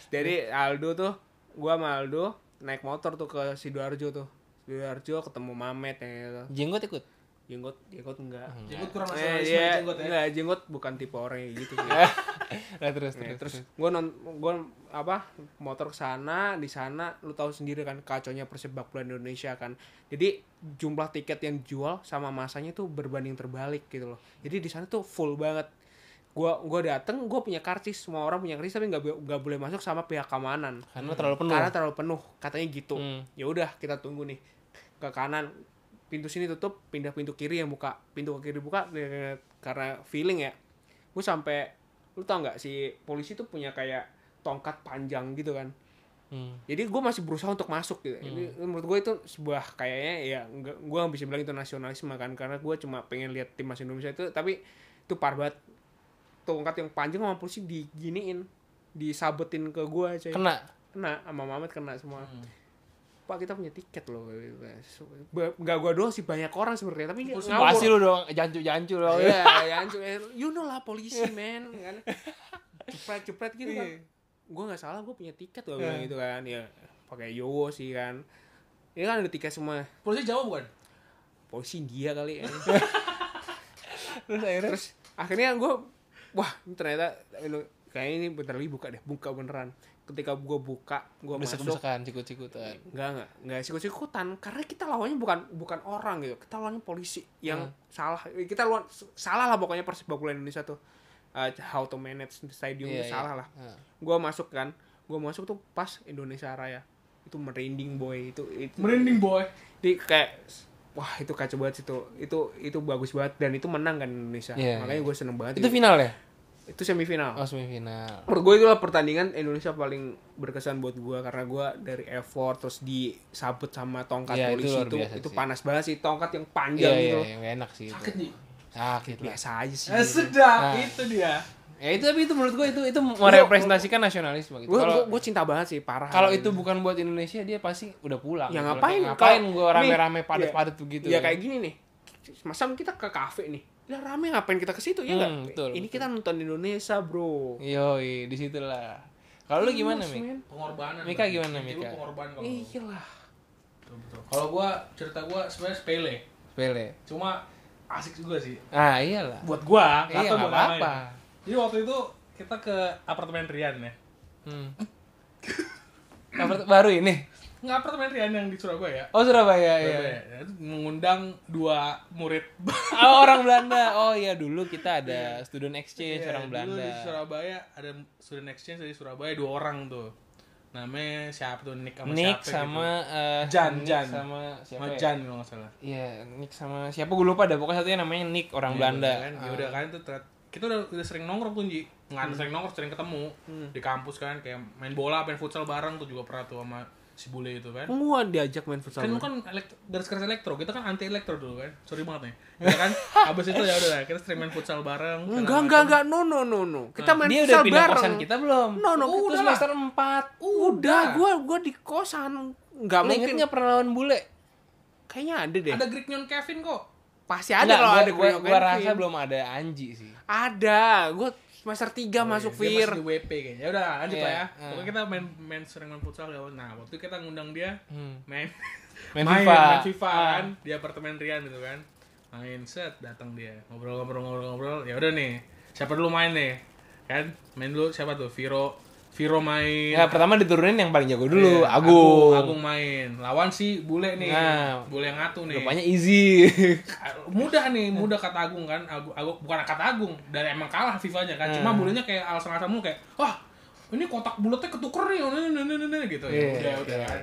Speaker 2: Jadi Aldo tuh, gua sama Aldo naik motor tuh ke sidoarjo tuh. Sidoarjo ketemu Mamet ya gitu.
Speaker 1: jenggot ikut
Speaker 2: Jenggot, jenggot enggak.
Speaker 3: jenggot kurang
Speaker 2: Eh,
Speaker 3: nasionalisme
Speaker 2: iya,
Speaker 3: jenggot ya
Speaker 2: enggak, jenggot bukan tipe orang yang gitu. sih.
Speaker 1: nah terus
Speaker 2: Nah,
Speaker 1: terus, terus.
Speaker 2: terus gue non, gue apa motor ke sana di sana lu tahu sendiri kan kaconya persepak bola Indonesia kan jadi jumlah tiket yang dijual sama masanya tuh berbanding terbalik gitu loh jadi di sana tuh full banget gua gua dateng gue punya karcis semua orang punya karcis tapi nggak bo- nggak boleh masuk sama pihak keamanan
Speaker 1: karena terlalu penuh
Speaker 2: karena terlalu penuh katanya gitu
Speaker 1: Hmm.
Speaker 2: ya udah kita tunggu nih ke kanan pintu sini tutup pindah pintu kiri yang buka pintu ke kiri buka eh, karena feeling ya gue sampai lu tau nggak si polisi tuh punya kayak tongkat panjang gitu kan
Speaker 1: Hmm.
Speaker 2: jadi gue masih berusaha untuk masuk gitu Jadi, menurut gue itu sebuah kayaknya ya nggak gue nggak bisa bilang itu nasionalisme kan karena gue cuma pengen lihat timnas Indonesia itu tapi itu parbat tongkat yang panjang sama polisi diginiin disabetin ke gue coy
Speaker 1: kena
Speaker 2: kena sama Mamet kena semua pak kita punya tiket loh Ba- nggak gua doang sih banyak orang sebenarnya tapi dia
Speaker 3: Polisi
Speaker 2: ngawur
Speaker 1: pasti lu dong jancu jancu dong
Speaker 2: Iya, ya, hancur. Eh, you know lah polisi men kan cepret cepret gitu kan gue nggak salah gue punya tiket gue bilang gitu kan ya pakai yowo sih kan ini kan ada tiket semua
Speaker 3: polisi Jawa bukan
Speaker 2: polisi India kali ya
Speaker 1: terus akhirnya
Speaker 2: terus akhirnya gue wah ini ternyata eh, kayaknya ini bentar lagi buka deh buka beneran ketika gue buka gue
Speaker 1: besek
Speaker 2: masuk
Speaker 1: besekan cikut cikutan
Speaker 2: Enggak, enggak, enggak sikut-sikutan karena kita lawannya bukan bukan orang gitu. Kita lawannya polisi yang
Speaker 1: Hmm.
Speaker 2: salah. Kita lawan salah lah pokoknya Persib bola Indonesia tuh. Uh, how to manage the stadium
Speaker 1: Iya,
Speaker 2: tuh
Speaker 1: iya.
Speaker 2: salah lah. Gua masuk kan. Gua masuk tuh pas Indonesia Raya. Itu merinding boy itu itu.
Speaker 3: merinding boy
Speaker 2: Jadi kayak wah itu kacau banget situ. Itu itu bagus banget dan itu menang kan Indonesia.
Speaker 1: Iya,
Speaker 2: Makanya
Speaker 1: iya.
Speaker 2: gue seneng banget.
Speaker 1: itu
Speaker 2: Itu,
Speaker 1: final ya
Speaker 2: itu semifinal
Speaker 1: oh semifinal
Speaker 2: menurut gue itulah pertandingan Indonesia paling berkesan buat gue karena gue dari effort terus disabet sama tongkat
Speaker 1: Iya, itu
Speaker 2: polisi
Speaker 1: luar
Speaker 2: itu
Speaker 1: biasa
Speaker 2: itu
Speaker 1: sih.
Speaker 2: panas banget sih tongkat yang
Speaker 1: iya
Speaker 2: panjang
Speaker 1: iya
Speaker 2: gitu Iya.
Speaker 1: iya, nggak enak sih
Speaker 3: sakit
Speaker 1: itu
Speaker 3: nih
Speaker 1: sakit lah
Speaker 2: biasa aja sih
Speaker 3: eh, sedap
Speaker 1: Nah.
Speaker 3: itu dia
Speaker 1: ya itu tapi itu menurut gua itu itu merepresentasikan nasionalisme gitu
Speaker 2: gue
Speaker 1: kalau
Speaker 2: gue cinta banget sih parah
Speaker 1: kalau itu bukan buat Indonesia dia pasti udah pulang
Speaker 2: Ya,
Speaker 1: Gitu.
Speaker 2: ngapain?
Speaker 1: Kayak ngapain
Speaker 2: Kalau-
Speaker 1: gua rame-rame
Speaker 2: nih,
Speaker 1: padat-padat begitu
Speaker 2: ya kayak gini nih masa kita ke kafe nih lah rame ngapain kita ke situ
Speaker 1: Hmm,
Speaker 2: ya nggak
Speaker 1: betul,
Speaker 2: ini kita nonton Indonesia bro Iya,
Speaker 1: yoi di situ lah kalau lu gimana
Speaker 2: Yes,
Speaker 1: Mik?
Speaker 2: man.
Speaker 3: pengorbanan
Speaker 1: Mika
Speaker 3: Bang.
Speaker 1: gimana,
Speaker 3: Intinya
Speaker 1: Mika?
Speaker 3: pengorbanan kalau
Speaker 2: iya lah
Speaker 3: Betul, betul. kalau gua cerita gua sebenarnya sepele
Speaker 1: Pele
Speaker 3: cuma asik juga sih
Speaker 1: ah iyalah
Speaker 3: buat gua nggak
Speaker 1: iya
Speaker 3: tahu
Speaker 1: nggak
Speaker 3: buat apa
Speaker 1: apa-apa
Speaker 3: jadi waktu itu kita ke apartemen Rian ya
Speaker 1: Hmm. Apa- baru ini
Speaker 3: nggak apartemen Rian yang di Surabaya
Speaker 1: oh Surabaya ya
Speaker 3: Surabaya. Ya, itu mengundang dua murid
Speaker 1: Oh, orang Belanda. Oh iya dulu kita ada student exchange
Speaker 3: Iya,
Speaker 1: orang
Speaker 3: dulu
Speaker 1: Belanda.
Speaker 3: di Surabaya ada student exchange dari Surabaya dua orang tuh namanya siapa tuh Nick sama
Speaker 1: Nick
Speaker 3: siapa gitu?
Speaker 1: sama eh,
Speaker 3: Jan,
Speaker 1: Nick
Speaker 3: Jan.
Speaker 1: sama
Speaker 3: gitu.
Speaker 1: siapa?
Speaker 3: sama
Speaker 1: ya?
Speaker 3: Jan kalau nggak salah
Speaker 1: Iya, Nick sama siapa gue lupa ada pokoknya satunya namanya Nick orang Belanda. Eh,
Speaker 3: kan ya udah kan tuh ternyata- kita udah, udah sering nongkrong tuh Ji
Speaker 1: Hmm.
Speaker 3: nggak ada sering nongkrong sering ketemu di kampus kan kayak main bola main futsal bareng tuh juga pernah tuh sama si bule itu kan
Speaker 2: Gua diajak main futsal.
Speaker 3: kan lu kan elekt- garis keras elektro kita kan anti elektro dulu kan sorry banget nih ya kan abis itu ya udah lah, kita stream main futsal bareng segala
Speaker 2: enggak, enggak, enggak. No, no, no, no. Kita
Speaker 1: Ah,
Speaker 2: main
Speaker 1: Dia udah
Speaker 2: futsal
Speaker 1: pindah
Speaker 2: bareng.
Speaker 1: kosan kita belum?
Speaker 2: No, no,
Speaker 1: Udah
Speaker 2: kita
Speaker 1: semester 4.
Speaker 2: Udah, gua gua di kosan. Enggak
Speaker 1: Lu inget
Speaker 2: mungkin.
Speaker 1: nggak pernah lawan bule?
Speaker 2: Kayaknya ada deh.
Speaker 3: macam. ada Greek Nyon Kevin kok
Speaker 2: Pasti ada
Speaker 1: Nggak,
Speaker 2: loh
Speaker 1: gua-
Speaker 2: ada kan,
Speaker 1: gua,
Speaker 2: Koyo
Speaker 1: gua
Speaker 2: Kenvin.
Speaker 1: rasa belum ada Anji sih.
Speaker 2: Ada. Gua semester
Speaker 1: Oh,
Speaker 2: 3 masuk
Speaker 3: Dia
Speaker 2: Fir.
Speaker 3: masih di WP kayaknya ya udah lanjut
Speaker 1: Iya,
Speaker 3: lah ya
Speaker 1: iya.
Speaker 3: pokoknya kita main main sering main futsal ya nah waktu itu kita ngundang dia
Speaker 1: Hmm.
Speaker 3: main
Speaker 1: Main FIFA.
Speaker 3: main FIFA
Speaker 1: Ah.
Speaker 3: kan di apartemen Rian gitu kan main set datang dia ngobrol-ngobrol-ngobrol-ngobrol ya udah nih siapa dulu main nih kan main dulu siapa tuh Viro Viro main
Speaker 1: Ya, pertama diturunin yang paling jago dulu,
Speaker 3: Iya,
Speaker 1: Agung.
Speaker 3: Agung main lawan si bule nih
Speaker 1: Nah.
Speaker 3: bule yang ngatu nih
Speaker 1: Rupanya easy.
Speaker 3: mudah nih mudah kata Agung kan Agung, Agung bukan kata Agung dari emang kalah FIFA-nya kan
Speaker 1: Nah.
Speaker 3: cuma bulenya kayak alasan-alasan mulu kayak wah ini kotak bulatnya ketuker nih ini, ini, ini, ini," gitu ya
Speaker 1: Iya,
Speaker 3: udah udah
Speaker 1: iya.
Speaker 3: kan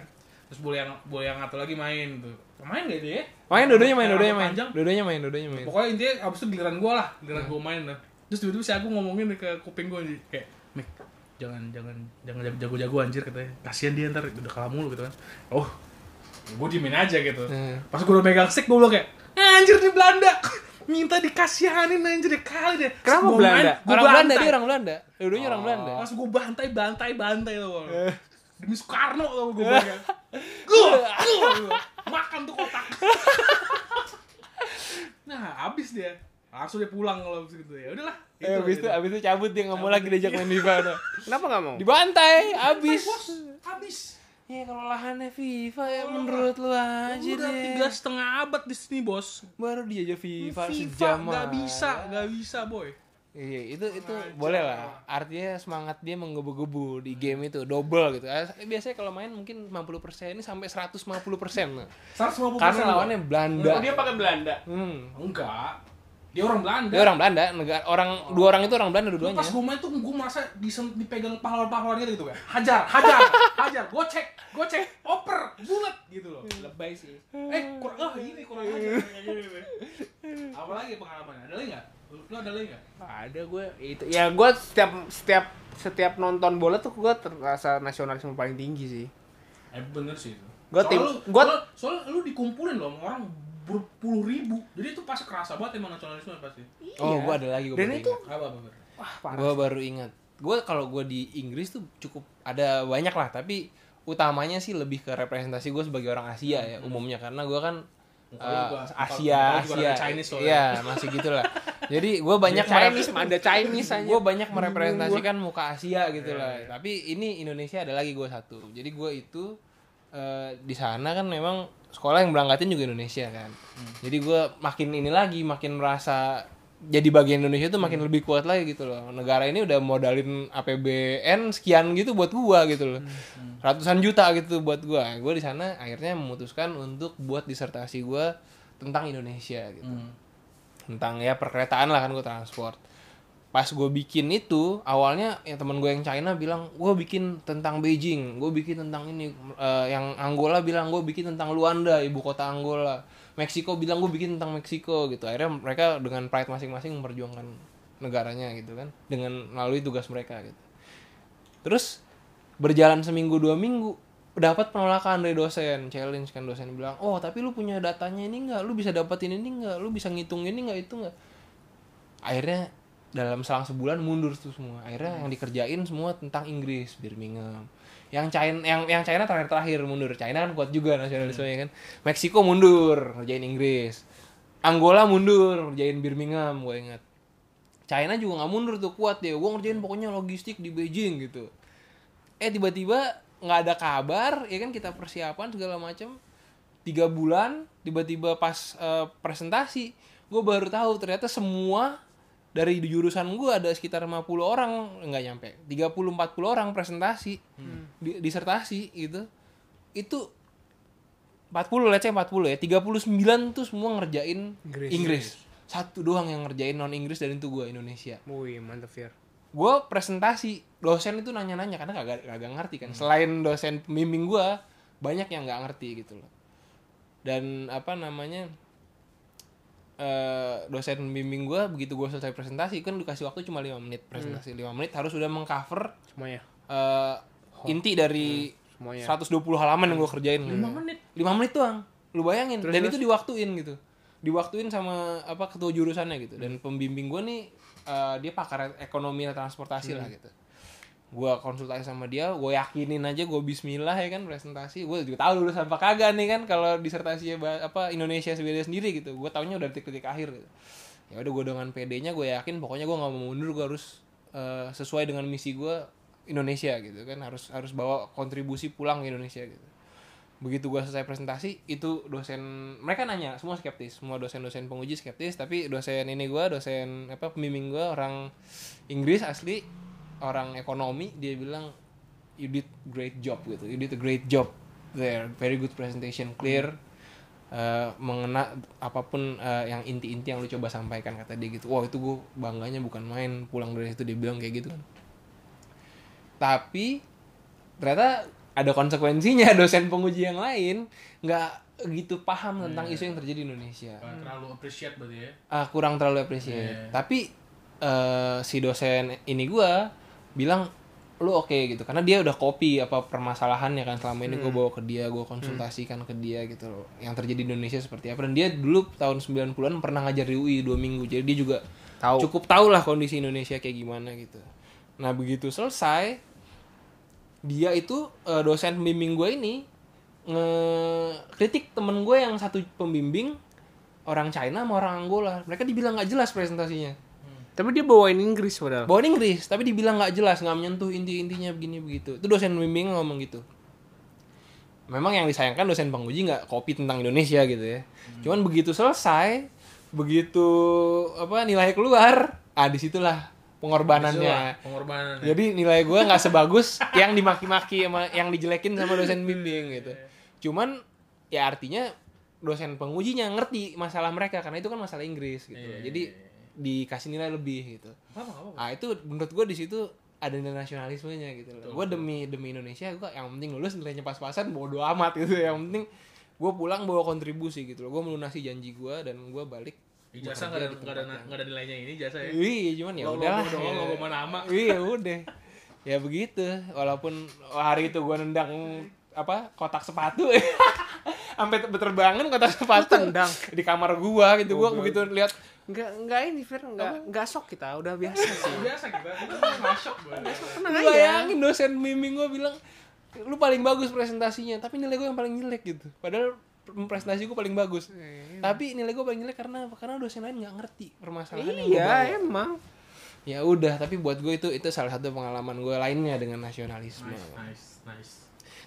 Speaker 3: terus boleh yang boleh yang satu lagi main tuh main ya? gak dia
Speaker 1: Main dodonya main,
Speaker 3: Yang
Speaker 1: dodonya
Speaker 3: rambut
Speaker 1: main.
Speaker 3: panjang.
Speaker 1: Dodonya main, dodonya main.
Speaker 3: pokoknya intinya abis itu giliran gue lah giliran gue main lah terus tiba-tiba si Agung ngomongin ke kuping gue kayak Mik jangan jangan jangan jago-jago anjir katanya kasihan dia ntar udah kalah mulu gitu kan oh gue diemin aja gitu
Speaker 1: Hmm.
Speaker 3: pas gue udah megang stick gue bilang kayak anjir di Belanda minta dikasihanin anjir deh kali deh Terus
Speaker 2: Kenapa
Speaker 3: gua
Speaker 2: Belanda?
Speaker 3: main, gua
Speaker 1: orang Belanda
Speaker 3: bantai.
Speaker 1: dia orang Belanda. Dodonya orang Belanda.
Speaker 3: Pas gue bantai, bantai, bantai loh.
Speaker 1: Eh.
Speaker 3: Demi Soekarno loh gue bilang. Gue, makan tuh kotak. nah, habis dia. Langsung dia pulang kalau habis gitu. Ya udahlah.
Speaker 1: Eh, abis itu, abis itu cabut dia nggak mau lagi diajak main FIFA. udah.
Speaker 2: Kenapa enggak mau?
Speaker 1: Dibantai,
Speaker 3: habis.
Speaker 1: abis.
Speaker 3: Habis.
Speaker 1: Ya kalau lahannya FIFA ya menurut lu aja
Speaker 3: Udah tiga
Speaker 1: deh.
Speaker 3: setengah abad di sini bos.
Speaker 1: Baru dia aja FIFA,
Speaker 3: FIFA
Speaker 1: sejam.
Speaker 3: nggak
Speaker 1: ah.
Speaker 3: bisa, nggak bisa boy.
Speaker 1: Iya, itu itu
Speaker 3: Sengaja.
Speaker 1: boleh lah. Artinya semangat dia menggebu-gebu di game itu double gitu. Eh, Biasanya kalau main mungkin 50% ini sampai 150%. Nah.
Speaker 3: 150
Speaker 1: Karena lawannya Belanda.
Speaker 2: Oh, Dia pakai Belanda.
Speaker 1: Hmm.
Speaker 3: enggak. Dia orang Belanda.
Speaker 1: Dia orang Belanda, negara orang dua orang itu orang Belanda dua-duanya.
Speaker 3: Pas gue main tuh gue merasa disem, dipegang pahlawan-pahlawan gitu, gitu kayak hajar, hajar, hajar, gocek, gocek, oper, bulat gitu loh. Lebay sih. Eh kurang ah ini kurang aja. Apalagi pengalaman ada lagi nggak? Lu lu ada lagi nggak?
Speaker 2: Ada gue itu. Ya gue setiap setiap setiap nonton bola tuh gue terasa nasionalisme paling tinggi sih.
Speaker 3: Eh bener sih itu.
Speaker 2: Gua
Speaker 3: Soalnya
Speaker 2: tim-
Speaker 3: lu-
Speaker 2: gua-
Speaker 3: soalnya- soalnya lu dikumpulin loh sama orang berpuluh ribu. Jadi itu pas kerasa banget emang nasionalisme pasti.
Speaker 1: Oh, gua ada lagi gua
Speaker 2: Iya. Dan
Speaker 1: baru
Speaker 2: itu-
Speaker 3: Apa apa bener?
Speaker 2: Wah, parah.
Speaker 1: Gue baru ingat. Gue kalau gue di Inggris tuh cukup ada banyak lah, tapi utamanya sih lebih ke representasi gue sebagai orang Asia ya
Speaker 2: Hmm.
Speaker 1: umumnya karena gue kan
Speaker 3: Muka
Speaker 1: eh,
Speaker 3: lu juga-
Speaker 1: Asia
Speaker 3: muka lu juga
Speaker 1: Asia
Speaker 3: ada Chinese soalnya.
Speaker 1: iya masih gitulah jadi gue banyak
Speaker 2: Chinese, ada Chinese aja.
Speaker 1: gue banyak merepresentasikan muka Asia gitu lah tapi ini Indonesia ada lagi gue satu jadi gue itu eh, di sana kan memang sekolah yang berangkatin juga Indonesia kan jadi gue makin ini lagi makin merasa jadi bagian Indonesia tuh makin lebih kuat lagi gitu loh negara ini udah modalin APBN sekian gitu buat gua gitu loh ratusan juta gitu buat gua gue di sana akhirnya memutuskan untuk buat disertasi gua tentang Indonesia gitu
Speaker 3: Hmm.
Speaker 1: tentang ya perkeretaan lah kan gue transport pas gue bikin itu awalnya ya teman gue yang China bilang gue bikin tentang Beijing gue bikin tentang ini Eh, yang Angola bilang gue bikin tentang Luanda ibu kota Angola Meksiko bilang gue bikin tentang Meksiko gitu akhirnya mereka dengan pride masing-masing memperjuangkan negaranya gitu kan dengan melalui tugas mereka gitu terus berjalan seminggu dua minggu dapat penolakan dari dosen challenge kan dosen bilang oh tapi lu punya datanya ini nggak lu bisa dapetin ini nggak lu bisa ngitung ini nggak itu nggak akhirnya dalam selang sebulan mundur tuh semua akhirnya yang dikerjain semua tentang Inggris Birmingham yang China yang yang China terakhir terakhir mundur China kan kuat juga nasionalismenya kan Meksiko mundur ngerjain Inggris Angola mundur ngerjain Birmingham gue ingat China juga nggak mundur tuh kuat ya gue ngerjain pokoknya logistik di Beijing gitu eh tiba-tiba nggak ada kabar ya kan kita persiapan segala macam tiga bulan tiba-tiba pas eh, presentasi gue baru tahu ternyata semua dari jurusan gue ada sekitar 50 orang nggak nyampe 30-40 orang presentasi di- disertasi gitu itu 40 let's say 40 ya 39 tuh semua ngerjain
Speaker 2: Inggris.
Speaker 1: Inggris, satu doang yang ngerjain non Inggris dan itu gue Indonesia
Speaker 2: Wih, mantep Fir.
Speaker 1: gue presentasi dosen itu nanya-nanya karena kagak kagak ngerti
Speaker 3: Hmm.
Speaker 1: kan selain dosen pembimbing gue banyak yang nggak ngerti gitu loh dan apa namanya eh dosen pembimbing gue begitu gue selesai presentasi kan dikasih waktu
Speaker 3: Hmm.
Speaker 1: cuma lima menit presentasi lima menit harus udah mengcover
Speaker 2: Semuanya.
Speaker 1: eh, inti dari
Speaker 2: semuanya
Speaker 1: 120 halaman yang gue kerjain.
Speaker 3: Hmm. Oh, iya. Lima menit.
Speaker 1: 5 menit doang. Lu bayangin.
Speaker 2: Terus,
Speaker 1: Dan
Speaker 2: terus?
Speaker 1: itu diwaktuin gitu. Diwaktuin sama apa ketua jurusannya gitu.
Speaker 2: Hmm.
Speaker 1: Dan pembimbing gue nih eh, dia pakar ekonomi dan transportasi lah
Speaker 2: Hmm.
Speaker 1: gitu. Gue konsultasi sama dia, gue yakinin aja gue bismillah ya kan presentasi. Gue juga tahu lulus apa kagak nih kan kalau disertasi apa Indonesia sendiri sendiri gitu. Gue taunya udah detik-detik akhir gitu. Ya udah gue dengan PD-nya gue yakin pokoknya gue nggak mau mundur, gue harus eh, sesuai dengan misi gue Indonesia gitu kan harus harus bawa kontribusi pulang ke Indonesia gitu begitu gua selesai presentasi itu dosen mereka nanya semua skeptis semua dosen-dosen penguji skeptis tapi dosen ini gua dosen apa pembimbing gua orang Inggris asli orang ekonomi dia bilang you did great job gitu you did a great job there very good presentation clear Eh, mengena apapun eh, yang inti-inti yang lu coba sampaikan kata dia gitu wow itu gue bangganya bukan main pulang dari situ dia bilang kayak gitu kan tapi ternyata ada konsekuensinya dosen penguji yang lain nggak gitu paham tentang isu yang terjadi di Indonesia
Speaker 3: Gak terlalu appreciate berarti ya.
Speaker 1: ah kurang terlalu appreciate
Speaker 3: Iya.
Speaker 1: tapi eh, si dosen ini gua bilang lu oke gitu karena dia udah copy apa permasalahannya kan selama ini gua bawa ke dia gua konsultasikan ke dia gitu loh yang terjadi di Indonesia seperti apa dan dia dulu tahun 90-an pernah ngajar di UI dua minggu jadi dia juga
Speaker 2: Tahu.
Speaker 1: cukup tau lah kondisi Indonesia kayak gimana gitu nah begitu selesai dia itu eh, dosen pembimbing gue ini ngekritik temen gue yang satu pembimbing orang China sama orang Angola mereka dibilang nggak jelas presentasinya
Speaker 2: tapi dia bawain Inggris padahal
Speaker 1: bawa Inggris tapi dibilang nggak jelas nggak menyentuh inti-intinya begini begitu itu dosen pembimbing ngomong gitu memang yang disayangkan dosen penguji nggak kopi tentang Indonesia gitu ya
Speaker 3: Hmm.
Speaker 1: cuman begitu selesai begitu apa nilai keluar ah disitulah pengorbanannya
Speaker 3: Itulah Pengorbanan. ya.
Speaker 1: jadi nilai gue nggak sebagus yang dimaki-maki sama yang dijelekin sama dosen
Speaker 3: Hmm.
Speaker 1: bimbing gitu. Cuman ya artinya dosen pengujinya ngerti masalah mereka karena itu kan masalah Inggris gitu.
Speaker 3: Iya,
Speaker 1: Jadi
Speaker 3: iya,
Speaker 1: dikasih nilai lebih gitu.
Speaker 3: Apa apa apa.
Speaker 1: Ah itu menurut gue di situ ada nilai nasionalismenya gitu loh. Gue demi demi Indonesia gue yang penting lulus nilainya pas-pasan bodo amat gitu. Yang penting gue pulang bawa kontribusi gitu loh. Gue melunasi janji gue dan gue balik.
Speaker 3: Ijazah nggak ada nggak ada nggak ada nilainya ini ijazah ya.
Speaker 1: Iya cuman ya
Speaker 3: Logo
Speaker 1: udahlah.
Speaker 3: doang,
Speaker 1: ya.
Speaker 3: logo sama nama.
Speaker 1: Iya udah. Ya begitu. Walaupun hari itu gua nendang apa kotak sepatu sampai ter- berterbangan kotak sepatu
Speaker 2: tendang?
Speaker 1: di kamar gua gitu gua begitu lihat
Speaker 2: nggak nggak ini Fir nggak nggak sok kita udah biasa sih
Speaker 3: Biasa
Speaker 1: gitu.
Speaker 3: kita. Kita masuk gue.
Speaker 2: tenang
Speaker 1: lu
Speaker 2: aja
Speaker 1: bayangin dosen bimbing gua bilang lu paling bagus presentasinya tapi nilai gua yang paling jelek gitu padahal presentasi gua paling bagus
Speaker 2: Eh,
Speaker 1: tapi nilai gua paling jelek karena apa? karena dosen lain nggak ngerti permasalahan yang gua bawa.
Speaker 2: iya emang
Speaker 1: ya udah tapi buat gue itu itu salah satu pengalaman gue lainnya dengan nasionalisme
Speaker 3: Nice, nice, nice.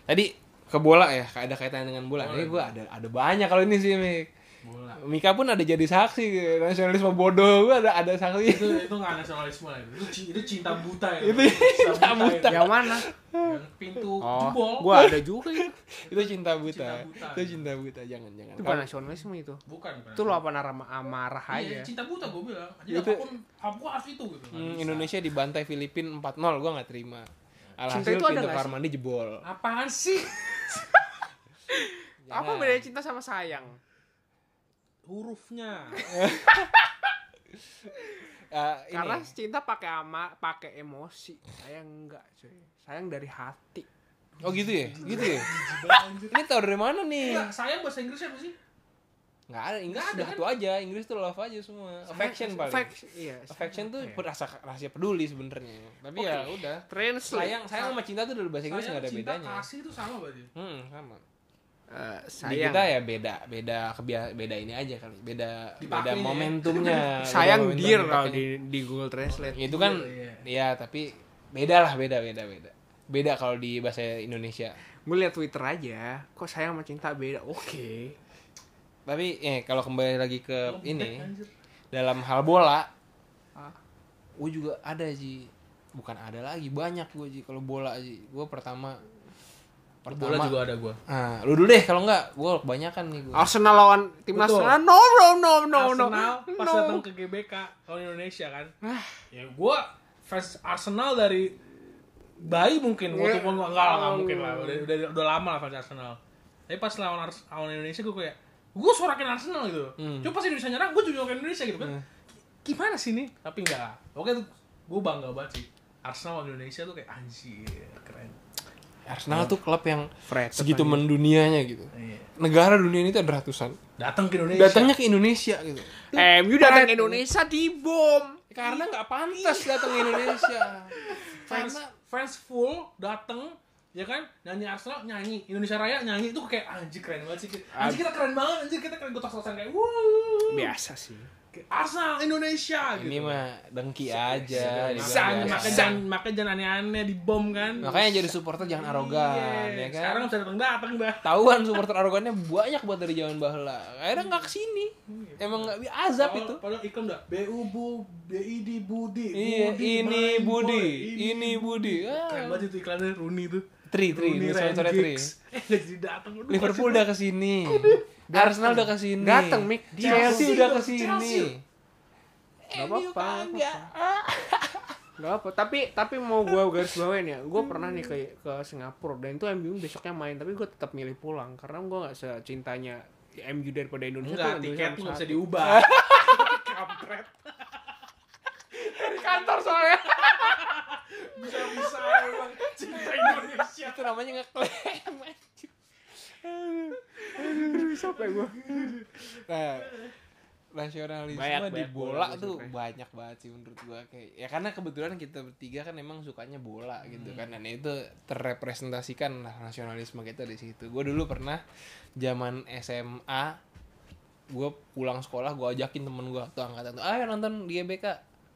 Speaker 1: Tadi ke bola ya, ada kaitannya dengan bola. Ini gue ada ada banyak kalau ini sih Mik.
Speaker 3: Bola.
Speaker 1: Mika pun ada jadi saksi gitu. nasionalisme bodoh gue ada ada
Speaker 3: Itu
Speaker 1: saksi.
Speaker 3: itu nggak nasionalisme lah itu. Itu, ci- itu cinta buta ya.
Speaker 1: Itu cinta buta.
Speaker 2: yang mana
Speaker 3: Yang pintu
Speaker 2: oh
Speaker 3: jebol.
Speaker 2: gua ada juga ya
Speaker 1: itu cinta buta.
Speaker 3: Cinta buta.
Speaker 1: Itu cinta buta jangan jangan.
Speaker 2: itu bukan nasionalisme itu
Speaker 3: Bukan. bukan.
Speaker 2: itu lo apa narama amarah
Speaker 3: Iya,
Speaker 2: aja
Speaker 3: cinta buta gue bilang. Jadi
Speaker 1: ya? Itu-
Speaker 3: apapun aku harus itu gitu. Nggak
Speaker 1: Hmm,
Speaker 3: bisa.
Speaker 1: Indonesia dibantai Filipina 4-0 gue nggak terima. Alhasil
Speaker 2: itu
Speaker 1: pintu
Speaker 2: ada nggak
Speaker 1: kamar
Speaker 2: sih?
Speaker 1: mandi jebol.
Speaker 3: Apaan sih?
Speaker 2: apa
Speaker 1: Iya. Ya,
Speaker 2: bedanya cinta sama sayang
Speaker 3: Hurufnya.
Speaker 1: Eh, ini.
Speaker 2: karena cinta pakai ama pakai emosi sayang enggak cuy sayang dari hati
Speaker 1: Oh gitu ya, gitu ya.
Speaker 3: Anjir.
Speaker 1: Ini tau dari mana nih?
Speaker 3: Iya, sayang bahasa Inggrisnya apa sih?
Speaker 1: Nggak ada Inggris
Speaker 3: Nggak ada
Speaker 1: udah
Speaker 3: kan?
Speaker 1: satu aja, Inggris tuh love aja semua. Affection paling.
Speaker 2: Affection, iya
Speaker 1: Affection tuh rasa rahasia peduli sebenarnya. Tapi ya udah.
Speaker 2: translate Eh,
Speaker 1: Sayang, sayang sama cinta tuh dari bahasa Inggris nggak ada
Speaker 3: cinta,
Speaker 1: bedanya.
Speaker 3: kasih itu sama berarti.
Speaker 1: Hmm, sama.
Speaker 2: Eh,
Speaker 1: Di
Speaker 2: sayang
Speaker 1: kita ya beda, beda kebia- beda ini aja kali. Beda beda
Speaker 3: Dipakainya ya.
Speaker 1: momentumnya.
Speaker 2: sayang
Speaker 1: Beda momentum
Speaker 2: dear kalau
Speaker 1: dipakainya.
Speaker 2: di di Google Translate
Speaker 1: Itu kan
Speaker 3: Iya,
Speaker 1: ya tapi beda lah, beda beda beda. Beda kalau di bahasa Indonesia.
Speaker 2: gue liat Twitter aja kok sayang sama cinta beda oke
Speaker 1: Tapi eh kalau kembali lagi ke
Speaker 3: Lembek,
Speaker 1: ini
Speaker 3: anjir.
Speaker 1: dalam hal bola,
Speaker 2: Ah.
Speaker 1: gue juga ada sih. Bukan ada lagi, banyak gue sih kalau bola sih. Gue pertama pertama
Speaker 3: Bola juga ada gua.
Speaker 1: Ah, lu dulu deh kalau enggak gue kebanyakan nih gue.
Speaker 2: Arsenal lawan timnas
Speaker 3: Betul.
Speaker 2: Arsenal no no no no no
Speaker 3: Arsenal pas
Speaker 2: No. Ah.
Speaker 3: datang ke GBK lawan Indonesia kan. ya gua fans Arsenal dari bayi
Speaker 2: Ya.
Speaker 3: mungkin waktu pun enggak lah enggak mungkin
Speaker 2: Oh.
Speaker 3: lah udah, udah, udah lama lah fans Arsenal. Tapi pas lawan Ars- lawan Indonesia gua kayak gua sorakin Arsenal gitu.
Speaker 2: Hmm.
Speaker 3: Cuma pas Indonesia nyerang gua juga sorakin Indonesia gitu kan. Gimana sih ini? Tapi enggak. lah. Oke tuh gua bangga banget sih. Arsenal lawan Indonesia tuh kayak anjir keren.
Speaker 1: Arsenal tuh klub yang
Speaker 2: Fred
Speaker 1: segitu mendunianya gitu. Negara dunia ini tuh ada ratusan.
Speaker 3: Iya. Datang ke Indonesia. Iya.
Speaker 1: Datangnya ke Indonesia gitu.
Speaker 2: MU datang ke Indonesia dibom
Speaker 1: Karena nggak pantas datang ke Indonesia.
Speaker 3: fans
Speaker 1: Karena
Speaker 3: fans full datang ya kan nyanyi Arsenal nyanyi Indonesia Raya nyanyi itu kayak "Ah, anjir keren banget sih anjir kita keren banget anjir kita keren gotak-gotakan kayak wuh
Speaker 2: biasa sih
Speaker 3: Kayak, Arsenal Indonesia
Speaker 1: Iya. ini
Speaker 3: gitu
Speaker 1: mah dengki aja. dibilang
Speaker 3: San,
Speaker 1: biasa.
Speaker 3: makanya jangan makanya jangan aneh-aneh dibom kan
Speaker 1: Makanya jadi supporter jangan arogan, ya
Speaker 3: Iya.
Speaker 1: kan?
Speaker 3: sekarang bisa datang datang dah
Speaker 1: Tahuan supporter arogannya banyak buat dari zaman bahla. Akhirnya nggak kesini. Emang nggak bi- azab
Speaker 3: Padahal-
Speaker 1: itu.
Speaker 3: padahal iklan dah BU Bu BID Budi
Speaker 1: Iya, ini
Speaker 3: main
Speaker 1: Budi,
Speaker 3: boy,
Speaker 1: ini Budi.
Speaker 3: keren
Speaker 1: Ah.
Speaker 3: banget itu iklannya Rooney tuh
Speaker 1: Tri, tri,
Speaker 3: Rooney
Speaker 1: sore sore tri.
Speaker 3: Rangix. eh nggak jadi datang
Speaker 1: Liverpool udah kesini. Arsenal udah kesini.
Speaker 2: Dateng, Mik.
Speaker 1: Chelsea
Speaker 3: Chelsea
Speaker 1: udah
Speaker 3: dong, Chelsea.
Speaker 1: kesini.
Speaker 2: Gak apa-apa, gak apa-apa. Gak apa, tapi tapi mau gue garis bawain ya, gue pernah nih ke ke Singapura dan itu MU besoknya main, tapi gue tetap milih pulang karena gue nggak secintanya MU daripada Indonesia.
Speaker 3: Enggak,
Speaker 2: tuh Indonesia
Speaker 3: tiket
Speaker 2: nomor
Speaker 3: nggak bisa
Speaker 2: satu.
Speaker 3: diubah. Kampret.
Speaker 2: di kantor soalnya.
Speaker 3: Bisa-bisa emang cinta Indonesia.
Speaker 1: Itu namanya ngeklaim. anjing.
Speaker 2: Aduh, siapa ya gue?
Speaker 1: Nah, nasionalisme
Speaker 2: Banyak,
Speaker 1: di
Speaker 2: banyak bola
Speaker 1: bola,
Speaker 2: gua
Speaker 1: tuh
Speaker 2: suka.
Speaker 1: banyak banget sih menurut gua kayak ya karena kebetulan kita bertiga kan emang sukanya bola gitu
Speaker 2: Hmm.
Speaker 1: kan dan itu terrepresentasikan lah nasionalisme kita di situ gua dulu pernah zaman SMA gua pulang sekolah gua ajakin temen gua tuh angkatan tuh ayo nonton di GBK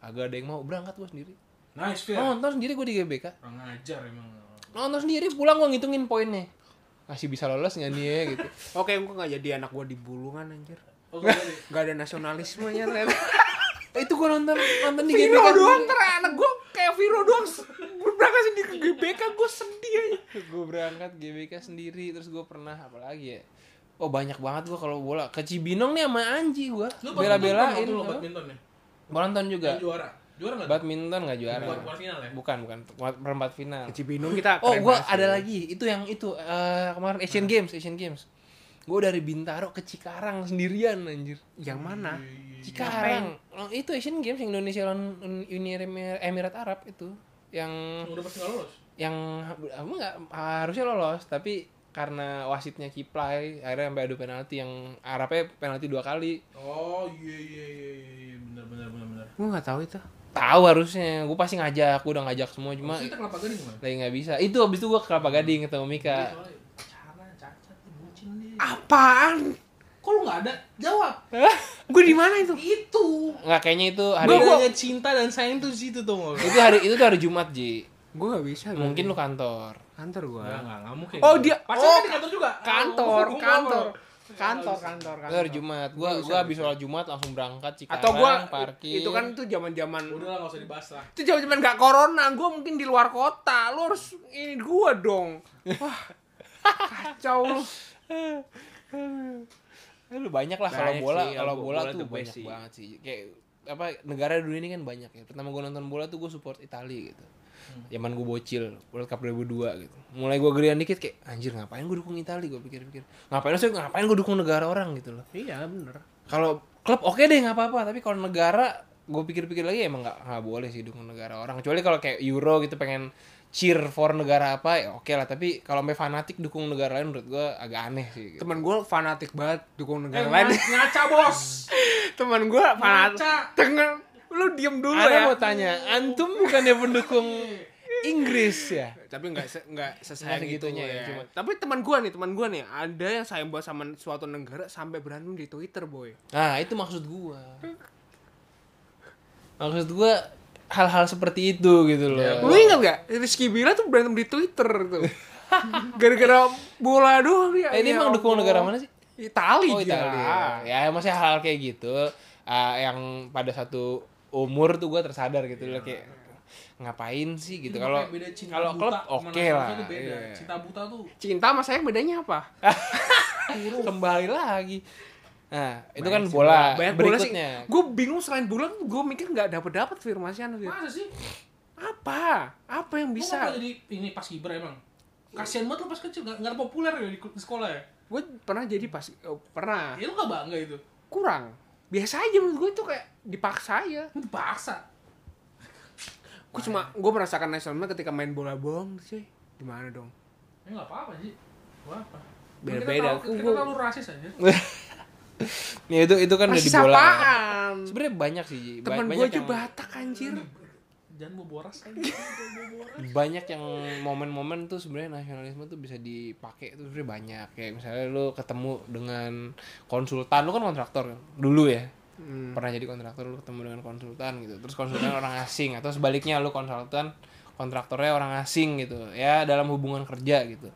Speaker 1: agak ada yang mau berangkat gua sendiri "Oh,
Speaker 3: Nice,
Speaker 2: Iya.
Speaker 3: Fir.
Speaker 1: nonton sendiri gua di GBK
Speaker 3: Kurang ajar emang.
Speaker 1: nonton sendiri pulang gua ngitungin poinnya masih bisa lolos nggak nih ya gitu
Speaker 2: Oke, gue nggak jadi anak gue di bulungan anjir.
Speaker 3: Oke, jadi.
Speaker 2: Gak ada nasionalismenya ternyata.
Speaker 1: "Eh, itu gua nonton nonton di
Speaker 2: Viro
Speaker 1: GBK
Speaker 2: doang ternyata anak gue kayak Viro doang gue berangkat sendiri ke GBK gue sedih aja.
Speaker 1: gue berangkat GBK sendiri terus gue pernah apalagi ya oh banyak banget gue kalau bola ke Cibinong nih sama Anji gue
Speaker 3: Lu badminton
Speaker 1: bela belain
Speaker 3: waktu lu badminton ya?
Speaker 1: nonton juga
Speaker 3: Yang juara. Juara enggak?
Speaker 1: badminton nggak juara
Speaker 3: Buat buat final ya?
Speaker 1: bukan bukan Perempat- perempat final
Speaker 2: Cibinong kita.
Speaker 1: oh
Speaker 2: keren
Speaker 1: gue
Speaker 2: banget sih.
Speaker 1: ada lagi itu yang itu eh, kemarin Asian Games Asian Games gue dari Bintaro ke Cikarang sendirian anjir
Speaker 2: Yang mana?
Speaker 3: Iya.
Speaker 1: Cikarang Oh, itu Asian Games yang Indonesia lawan Uni Emir- Emirat Arab itu yang
Speaker 3: Yang Udah pasti nggak lolos.
Speaker 1: yang apa nggak harusnya lolos tapi karena wasitnya kiplay akhirnya sampai adu penalti yang Arabnya penalti dua kali
Speaker 3: Oh, iya iya iya iya. Benar benar benar benar.
Speaker 2: Gue nggak tahu itu.
Speaker 1: tahu harusnya gue pasti ngajak gue udah ngajak semua cuma
Speaker 3: Terus kita kelapa gading gimana?
Speaker 1: lagi nggak bisa itu abis itu gue ke kelapa gading ketemu Mika
Speaker 2: Iya.
Speaker 3: Dia soalnya pacaran, cacat, bucin dia.
Speaker 2: Apaan?
Speaker 3: Kok lu nggak ada? Jawab.
Speaker 2: Gue di mana itu?
Speaker 3: Itu.
Speaker 1: nggak kayaknya itu hari
Speaker 3: Bedanya cinta dan sayang tuh di situ tuh. Ngol.
Speaker 1: itu hari itu tuh hari Jumat ji
Speaker 2: Gue gak bisa. gua.
Speaker 1: mungkin lu kantor
Speaker 2: kantor gue.
Speaker 3: Enggak, enggak, enggak mungkin.
Speaker 2: Oh, dia-
Speaker 3: pacarnya
Speaker 2: oh,
Speaker 3: di kantor juga.
Speaker 2: Kantor,
Speaker 3: Oh, gua- gua-
Speaker 2: kantor,
Speaker 3: gua-
Speaker 2: kantor, kantor,
Speaker 1: itu hari Jumat gue gue abis sholat Jumat langsung berangkat Cikarang
Speaker 2: Atau gue
Speaker 1: parkir
Speaker 2: itu kan itu zaman zaman
Speaker 3: Udah lah, nggak usah dibahas lah.
Speaker 2: itu zaman zaman gak corona. Gue mungkin di luar kota. Lo harus ini gue dong. Wah kacau lu.
Speaker 1: Eh, lu banyak lah kalau
Speaker 2: Banyak
Speaker 1: bola
Speaker 2: sih,
Speaker 1: kalau
Speaker 2: kalau
Speaker 1: bola,
Speaker 2: bola
Speaker 1: tuh
Speaker 2: the best
Speaker 1: banyak
Speaker 2: sih.
Speaker 1: banget sih kayak apa negara dunia ini kan banyak ya pertama gue nonton bola tuh gue support Italia gitu
Speaker 2: Hmm.
Speaker 1: zaman gue bocil World Cup 2002 gitu mulai gue gedean dikit kayak anjir ngapain gue dukung Italia gue pikir-pikir ngapain sih ngapain gue dukung negara orang gitu loh
Speaker 2: Iya bener.
Speaker 1: kalau klub oke deh nggak apa-apa tapi kalau negara gue pikir-pikir lagi emang nggak nggak boleh sih dukung negara orang kecuali kalau kayak Euro gitu pengen cheer for negara apa ya oke lah tapi kalau sampai fanatik dukung negara lain menurut gue agak aneh sih gitu.
Speaker 2: Temen gue fanatik banget dukung
Speaker 3: Eh,
Speaker 2: negara lain.
Speaker 3: ngac- ngaca bos.
Speaker 2: Temen gue fanatik.
Speaker 3: Ngaca.
Speaker 2: Tengen, lu diem dulu
Speaker 1: Ana
Speaker 2: ya.
Speaker 1: mau tanya, antum bukannya pendukung Inggris ya?
Speaker 2: tapi nggak se nggak
Speaker 1: Nggak
Speaker 2: sesayang
Speaker 1: segitunya
Speaker 2: gitunya
Speaker 1: ya,
Speaker 2: ya.
Speaker 1: cuma-
Speaker 2: Tapi teman gua nih, teman gua nih, ada yang sayang banget sama suatu negara sampai berantem di Twitter, boy.
Speaker 1: Nah, itu maksud gua. Maksud gua hal-hal seperti itu gitu loh.
Speaker 3: Ya,
Speaker 2: Lu ingat gak? Rizky Bila tuh berantem di Twitter tuh. Gara-gara bola doang ya.
Speaker 1: Eh, dia
Speaker 2: Ya
Speaker 1: emang dukung
Speaker 2: Allah.
Speaker 1: negara mana sih?
Speaker 2: Itali,
Speaker 1: Oh,
Speaker 2: gila.
Speaker 1: Italia. Ya, maksudnya hal-hal kayak gitu ah, yang pada satu umur tuh gua tersadar gitu loh kayak ngapain sih gitu
Speaker 3: Itu
Speaker 1: kalau
Speaker 3: makanya beda cinta
Speaker 1: kalau
Speaker 3: buta
Speaker 1: klub
Speaker 3: sama
Speaker 1: oke
Speaker 3: nasional
Speaker 1: lah
Speaker 3: tuh beda.
Speaker 1: Iya.
Speaker 3: Cinta buta tuh
Speaker 2: Cinta sama sayang bedanya apa?
Speaker 1: Eh. kembali lagi nah itu kan bola
Speaker 2: Banyak bola sih.
Speaker 1: berikutnya
Speaker 2: Gue bingung selain bola, gue mikir nggak dapet dapet firmasian
Speaker 1: Iya.
Speaker 2: Fir.
Speaker 3: masa sih?
Speaker 2: Apa? Apa yang bisa?
Speaker 3: Bisa. Lu kenapa jadi ini pas kibra emang. Kasian banget lu pas kecil nggak nggak populer ya di, di sekolah ya.
Speaker 2: Gue pernah jadi pas, oh, pernah
Speaker 3: Ya lu nggak bangga itu.
Speaker 2: kurang. Biasa aja menurut gue itu kayak dipaksa aja.
Speaker 3: Lu dipaksa.
Speaker 1: Nah.
Speaker 2: Gue cuma gue merasakan nasionalisme ketika main bola bohong sih. Gimana dong?
Speaker 3: ya nggak apa-apa sih gua apa Kan
Speaker 1: Beda-beda.
Speaker 3: kita terlalu, kita
Speaker 1: Gua-
Speaker 3: terlalu rasis aja
Speaker 1: ya itu itu kan udah
Speaker 2: Rasis
Speaker 1: di bola
Speaker 2: apaan?
Speaker 1: sebenarnya banyak sih Ji. Ba-
Speaker 2: Temen gue
Speaker 1: banyak
Speaker 2: aja
Speaker 1: yang
Speaker 2: Batak anjir.
Speaker 3: jangan mau boras aja jangan mau boras
Speaker 1: banyak yang momen-momen tuh sebenarnya nasionalisme tuh bisa dipakai tuh sebenarnya banyak kayak misalnya lu ketemu dengan konsultan lu kan kontraktor kan? dulu ya
Speaker 2: Hmm.
Speaker 1: pernah jadi kontraktor lu ketemu dengan konsultan gitu terus konsultan orang asing atau sebaliknya lu konsultan kontraktornya orang asing gitu ya dalam hubungan kerja gitu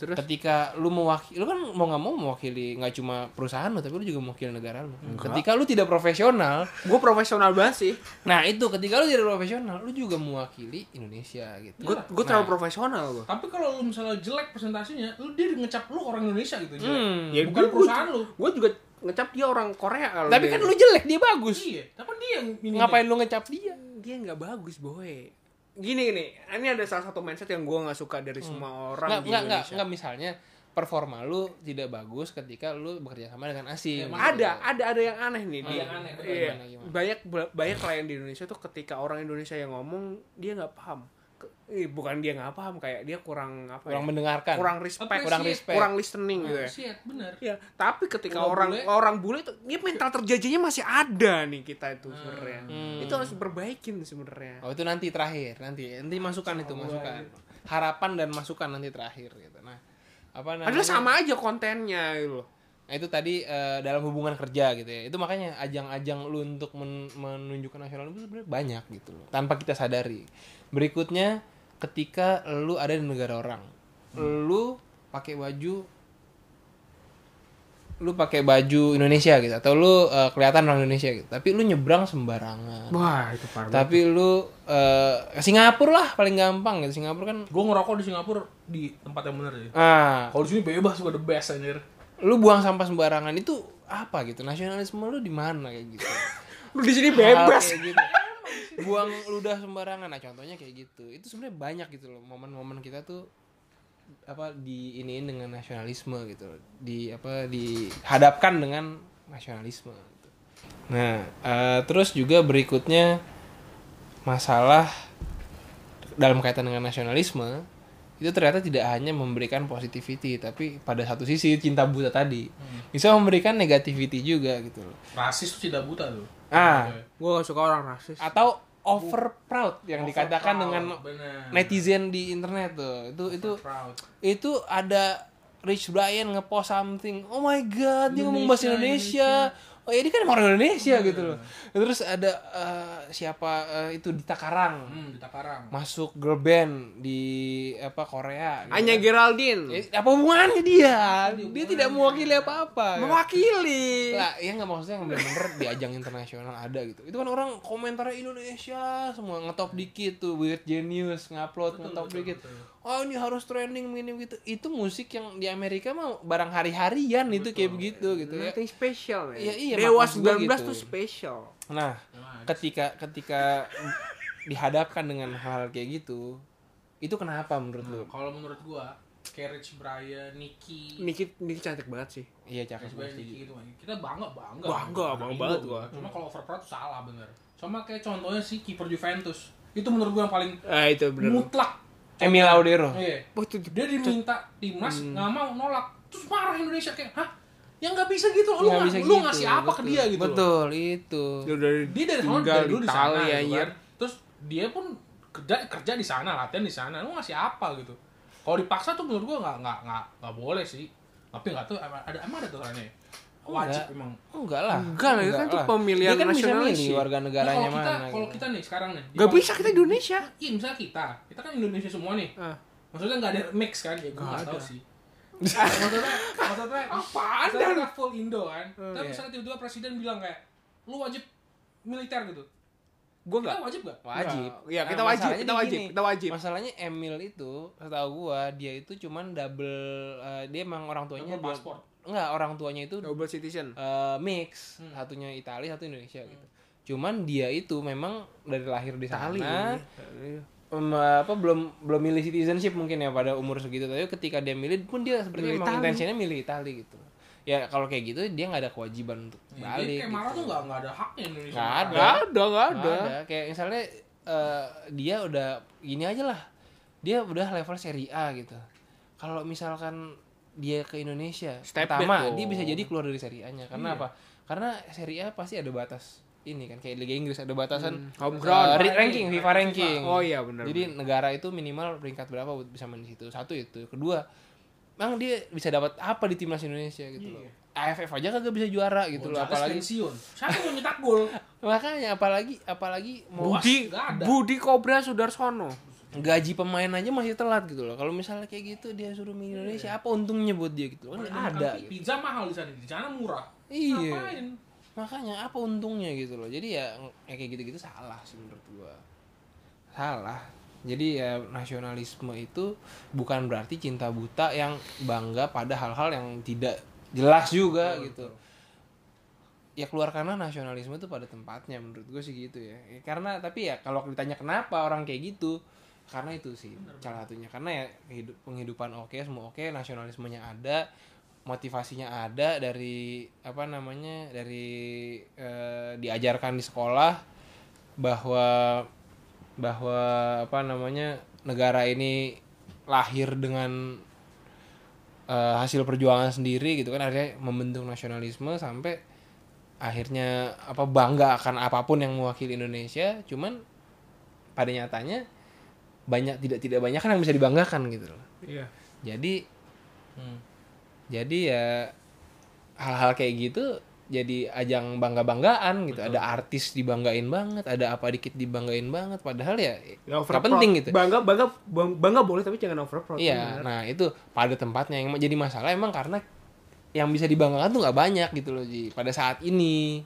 Speaker 2: Terus?
Speaker 1: ketika lu mewakili lu kan mau nggak mau mewakili nggak cuma perusahaan lu tapi lu juga mewakili negara lu ketika lu tidak profesional
Speaker 2: Gue profesional banget sih.
Speaker 1: nah itu ketika lu tidak profesional lu juga mewakili Indonesia gitu
Speaker 2: Gue gue terlalu profesional gue.
Speaker 3: tapi kalau lu misalnya jelek presentasinya lu dia ngecap lu orang Indonesia gitu jelek
Speaker 1: Hmm.
Speaker 2: Ya,
Speaker 3: bukan
Speaker 2: gua-
Speaker 3: perusahaan lu
Speaker 2: Gue juga ngecap dia orang Korea kalau
Speaker 1: tapi
Speaker 2: dia-
Speaker 1: kan lu jelek dia bagus
Speaker 3: iya tapi dia yang ini
Speaker 1: ngapain lu ngecap dia
Speaker 2: dia nggak bagus boy. Gini gini, ini ada salah satu mindset yang gue nggak suka dari semua orang
Speaker 1: Hmm. nggak
Speaker 2: di
Speaker 1: nggak nggak
Speaker 2: Indonesia.
Speaker 1: nggak misalnya performa lu tidak bagus ketika lu bekerja sama dengan gitu. asing
Speaker 2: ada ada ada yang aneh nih
Speaker 1: Hmm.
Speaker 2: dia
Speaker 3: yang aneh, betul,
Speaker 2: Iya.
Speaker 1: gimana, gimana?
Speaker 2: banyak ba- banyak klien di Indonesia tuh ketika orang Indonesia yang ngomong dia nggak paham Ke- eh, bukan dia nggak paham kayak dia kurang apa
Speaker 1: kurang
Speaker 2: ya,
Speaker 1: mendengarkan
Speaker 2: kurang respect
Speaker 3: Appreciate.
Speaker 2: kurang respect kurang listening gitu ya
Speaker 3: Oh, shit bener
Speaker 2: Ya, tapi ketika orang
Speaker 3: Orang bule.
Speaker 2: orang bule itu dia mental terjajahnya masih ada nih kita itu sebenarnya. Itu harus perbaikin sebenarnya.
Speaker 1: Oh itu nanti terakhir, nanti nanti masukan itu masukan. Harapan dan masukan nanti terakhir gitu. Nah, apa namanya?
Speaker 2: Padahal sama aja kontennya gitu loh.
Speaker 1: Nah, itu tadi eh, dalam hubungan kerja gitu ya. Itu makanya ajang-ajang lu untuk men- menunjukkan nasional itu sebenarnya banyak gitu loh. Tanpa kita sadari. Berikutnya ketika lu ada di negara orang. Lu pakai baju lu pakai baju Indonesia gitu atau lu eh, kelihatan orang Indonesia gitu. Tapi lu nyebrang sembarangan.
Speaker 2: Wah, itu parah.
Speaker 1: Tapi lu eh, ke Singapura lah paling gampang gitu. Singapura kan
Speaker 3: gue ngerokok di Singapura di tempat yang bener sih
Speaker 1: ah,
Speaker 3: kalau di sini bebas gue the best anjir
Speaker 1: lu buang sampah sembarangan itu apa gitu? Nasionalisme lu di mana kayak gitu.
Speaker 2: Lu di sini
Speaker 1: Hal
Speaker 2: bebas.
Speaker 1: kayak gitu. Buang ludah sembarangan. Nah, contohnya kayak gitu. Itu sebenarnya banyak gitu loh momen-momen kita tuh apa di iniin dengan nasionalisme gitu loh. Di apa dihadapkan dengan nasionalisme gitu. Nah, eh, terus juga berikutnya masalah dalam kaitan dengan nasionalisme itu ternyata tidak hanya memberikan positivity tapi pada satu sisi cinta buta tadi bisa memberikan negativity juga gitu loh.
Speaker 3: rasis tuh tidak buta tuh
Speaker 1: Ah,
Speaker 2: Gue gak suka orang rasis.
Speaker 1: atau over proud yang dikatakan dengan
Speaker 3: Nah, bener
Speaker 1: netizen di internet tuh itu itu
Speaker 3: proud
Speaker 1: itu ada Rich Brian ngepost something oh my god dia ngomong bahasa Indonesia, oh ya dia kan emang orang Indonesia gitu loh terus ada eh, siapa eh, itu Dita Karang
Speaker 3: hmm di Takarang
Speaker 1: masuk girl band di apa Korea gitu.
Speaker 2: Hanya Geraldine.
Speaker 1: Eh, apa hubungannya dia dia tidak mewakili
Speaker 2: Iya.
Speaker 1: apa-apa
Speaker 2: Mewakili.
Speaker 1: lah
Speaker 3: Iya.
Speaker 1: ya nggak maksudnya yang bener-bener di ajang internasional ada gitu itu kan orang komentarnya Indonesia semua ngetop dikit tuh weird genius ngupload ngetop dikit oh ini harus trending minim gitu itu musik yang di Amerika mah barang hari-harian itu kayak begitu gitu ya
Speaker 2: Nothing special,
Speaker 1: Iya, iya,
Speaker 2: Dewa
Speaker 1: maksud gua
Speaker 2: 19
Speaker 1: gitu.
Speaker 2: tuh special.
Speaker 1: nah ketika ketika dihadapkan dengan hal kayak gitu itu kenapa menurut lu
Speaker 3: kalau menurut gua Carriage Brian Nicky
Speaker 2: Niki, Niki cantik banget sih.
Speaker 1: iya cakep
Speaker 3: Carriage Brian
Speaker 1: banget
Speaker 3: Nicky gitu kan kita bangga bangga
Speaker 2: Bangga,
Speaker 3: Orang
Speaker 2: bangga
Speaker 3: Indo
Speaker 2: banget
Speaker 3: gitu.
Speaker 2: gua.
Speaker 3: cuma kalau overproud tuh salah bener sama kayak contohnya si kiper Juventus itu menurut gua yang paling
Speaker 2: Ah, itu bener.
Speaker 3: mutlak
Speaker 1: Emil Laudero
Speaker 3: Iya.
Speaker 2: Wah, itu
Speaker 3: dia diminta timnas
Speaker 1: Hmm.
Speaker 3: nggak mau nolak terus marah Indonesia kayak hah yang nggak bisa gitu loh. lu
Speaker 1: Nggak
Speaker 3: nggak
Speaker 1: bisa
Speaker 3: lu
Speaker 1: gitu,
Speaker 3: ngasih apa ke
Speaker 1: betul.
Speaker 3: dia gitu loh.
Speaker 1: betul itu
Speaker 2: dia dari
Speaker 3: dia dari sana
Speaker 2: tinggal
Speaker 3: dari
Speaker 2: di
Speaker 3: dulu di sana
Speaker 2: Itali
Speaker 3: gitu
Speaker 2: anjir.
Speaker 3: kan. terus dia pun kerja kerja di sana latihan di sana lu ngasih apa gitu kalau dipaksa tuh menurut gua nggak nggak nggak nggak boleh sih tapi nggak tuh emang ada emang ada aturannya ya? wajib
Speaker 1: Enggak.
Speaker 3: emang
Speaker 1: enggak lah
Speaker 2: Enggak lah, itu kan tuh pemilihan
Speaker 1: dia kan bisa
Speaker 2: nasionalis
Speaker 1: milih
Speaker 2: sih.
Speaker 1: warga
Speaker 3: Nah,
Speaker 1: negaranya
Speaker 3: kalau kita
Speaker 1: mana
Speaker 3: kalau
Speaker 1: gitu.
Speaker 3: kita nih sekarang nih
Speaker 2: Gak bisa kita Indonesia.
Speaker 3: iya misalnya kita kita kan Indonesia semua nih
Speaker 2: Ah.
Speaker 3: maksudnya nggak ada mix kan ya gue
Speaker 2: Nggak
Speaker 3: nggak tahu
Speaker 2: ada.
Speaker 3: sih maksudnya maksudnya apa
Speaker 2: dah?
Speaker 3: anda full Indo kan
Speaker 1: iya.
Speaker 3: tapi misalnya tiba-tiba presiden bilang kayak lu wajib militer gitu
Speaker 2: Gue
Speaker 3: kita wajib gak
Speaker 1: wajib.
Speaker 2: Nah, iya, kita wajib,
Speaker 1: masalahnya
Speaker 2: kita
Speaker 1: di
Speaker 2: wajib, kita wajib.
Speaker 1: Masalahnya Emil itu, setahu gua, dia itu cuman double eh, dia emang orang tuanya
Speaker 3: Double paspor.
Speaker 1: Enggak, orang tuanya itu
Speaker 2: double citizen.
Speaker 1: eh, mix, satunya Italia, satu Indonesia gitu. Cuman dia itu memang dari lahir di sana.
Speaker 2: Eh,
Speaker 1: em, apa belum belum milih citizenship mungkin ya pada umur segitu tapi ketika dia milih pun dia seperti
Speaker 2: Milih
Speaker 1: memang
Speaker 2: Itali.
Speaker 1: intensinya milih Itali gitu ya kalau kayak gitu dia nggak ada kewajiban untuk
Speaker 3: Iya,
Speaker 1: balik
Speaker 3: dia kayak marah
Speaker 1: gitu.
Speaker 3: tuh nggak nggak ada haknya Indonesia
Speaker 1: Nggak ada.
Speaker 2: Gak ada, gak ada.
Speaker 1: Ah, ada. Kayak misalnya eh, dia udah gini aja lah. Dia udah level seri A gitu. kalau misalkan dia ke Indonesia
Speaker 2: Step back
Speaker 1: pertama
Speaker 2: dong. Iya.
Speaker 1: dia bisa jadi keluar dari Serie A-nya karena apa karena Serie A pasti ada batas ini kan kayak Liga Inggris ada batasan eh,
Speaker 2: Home ground.
Speaker 1: ri- ranking FIFA ranking
Speaker 2: Oh iya Hmm, benar.
Speaker 1: jadi negara itu minimal peringkat berapa buat bisa main di situ. Satu itu. Kedua, emang dia bisa dapat apa di timnas Indonesia gitu
Speaker 2: Iya.
Speaker 1: loh. AFF aja kagak bisa juara gitu loh
Speaker 3: Gonzales
Speaker 2: kan?
Speaker 1: apalagi
Speaker 3: pensiun. Siapa yang nyetak gol?
Speaker 1: makanya apalagi apalagi mau
Speaker 2: Budi
Speaker 3: Wah, nggak ada.
Speaker 2: Budi Kobra Sudarsono.
Speaker 1: gaji pemain aja masih telat gitu loh. Kalau misalnya kayak gitu dia suruh main Indonesia apa untungnya buat dia gitu loh. Kan ada
Speaker 3: Tapi
Speaker 1: gitu.
Speaker 3: Pizza mahal di sana, di sana murah.
Speaker 1: Iya.
Speaker 3: Ngapain?
Speaker 1: Makanya apa untungnya gitu loh. Jadi ya ya kayak gitu-gitu salah sih menurut gua. Salah. Jadi ya nasionalisme itu bukan berarti cinta buta yang bangga pada hal-hal yang tidak jelas juga gitu. Ya keluarkanlah nasionalisme itu pada tempatnya menurut gue sih gitu ya. Ya, Karena tapi ya kalau ditanya kenapa orang kayak gitu karena itu sih salah satunya karena ya kehidup- penghidupan oke semua oke nasionalismenya ada motivasinya ada dari apa namanya dari eh, diajarkan di sekolah bahwa bahwa apa namanya negara ini lahir dengan eh, hasil perjuangan sendiri gitu kan akhirnya membentuk nasionalisme sampai akhirnya apa bangga akan apapun yang mewakili Indonesia cuman pada nyatanya banyak tidak tidak banyak kan yang bisa dibanggakan gitu loh
Speaker 2: Iya.
Speaker 1: jadi jadi ya hal-hal kayak gitu jadi ajang bangga-banggaan gitu ada artis dibanggain banget ada apa dikit dibanggain banget padahal ya nggak penting gitu
Speaker 2: Bangga bangga bang- bangga boleh tapi jangan overproud.
Speaker 1: iya nah itu pada tempatnya yang jadi masalah emang karena yang bisa dibanggakan tuh nggak banyak gitu loh Ji pada saat ini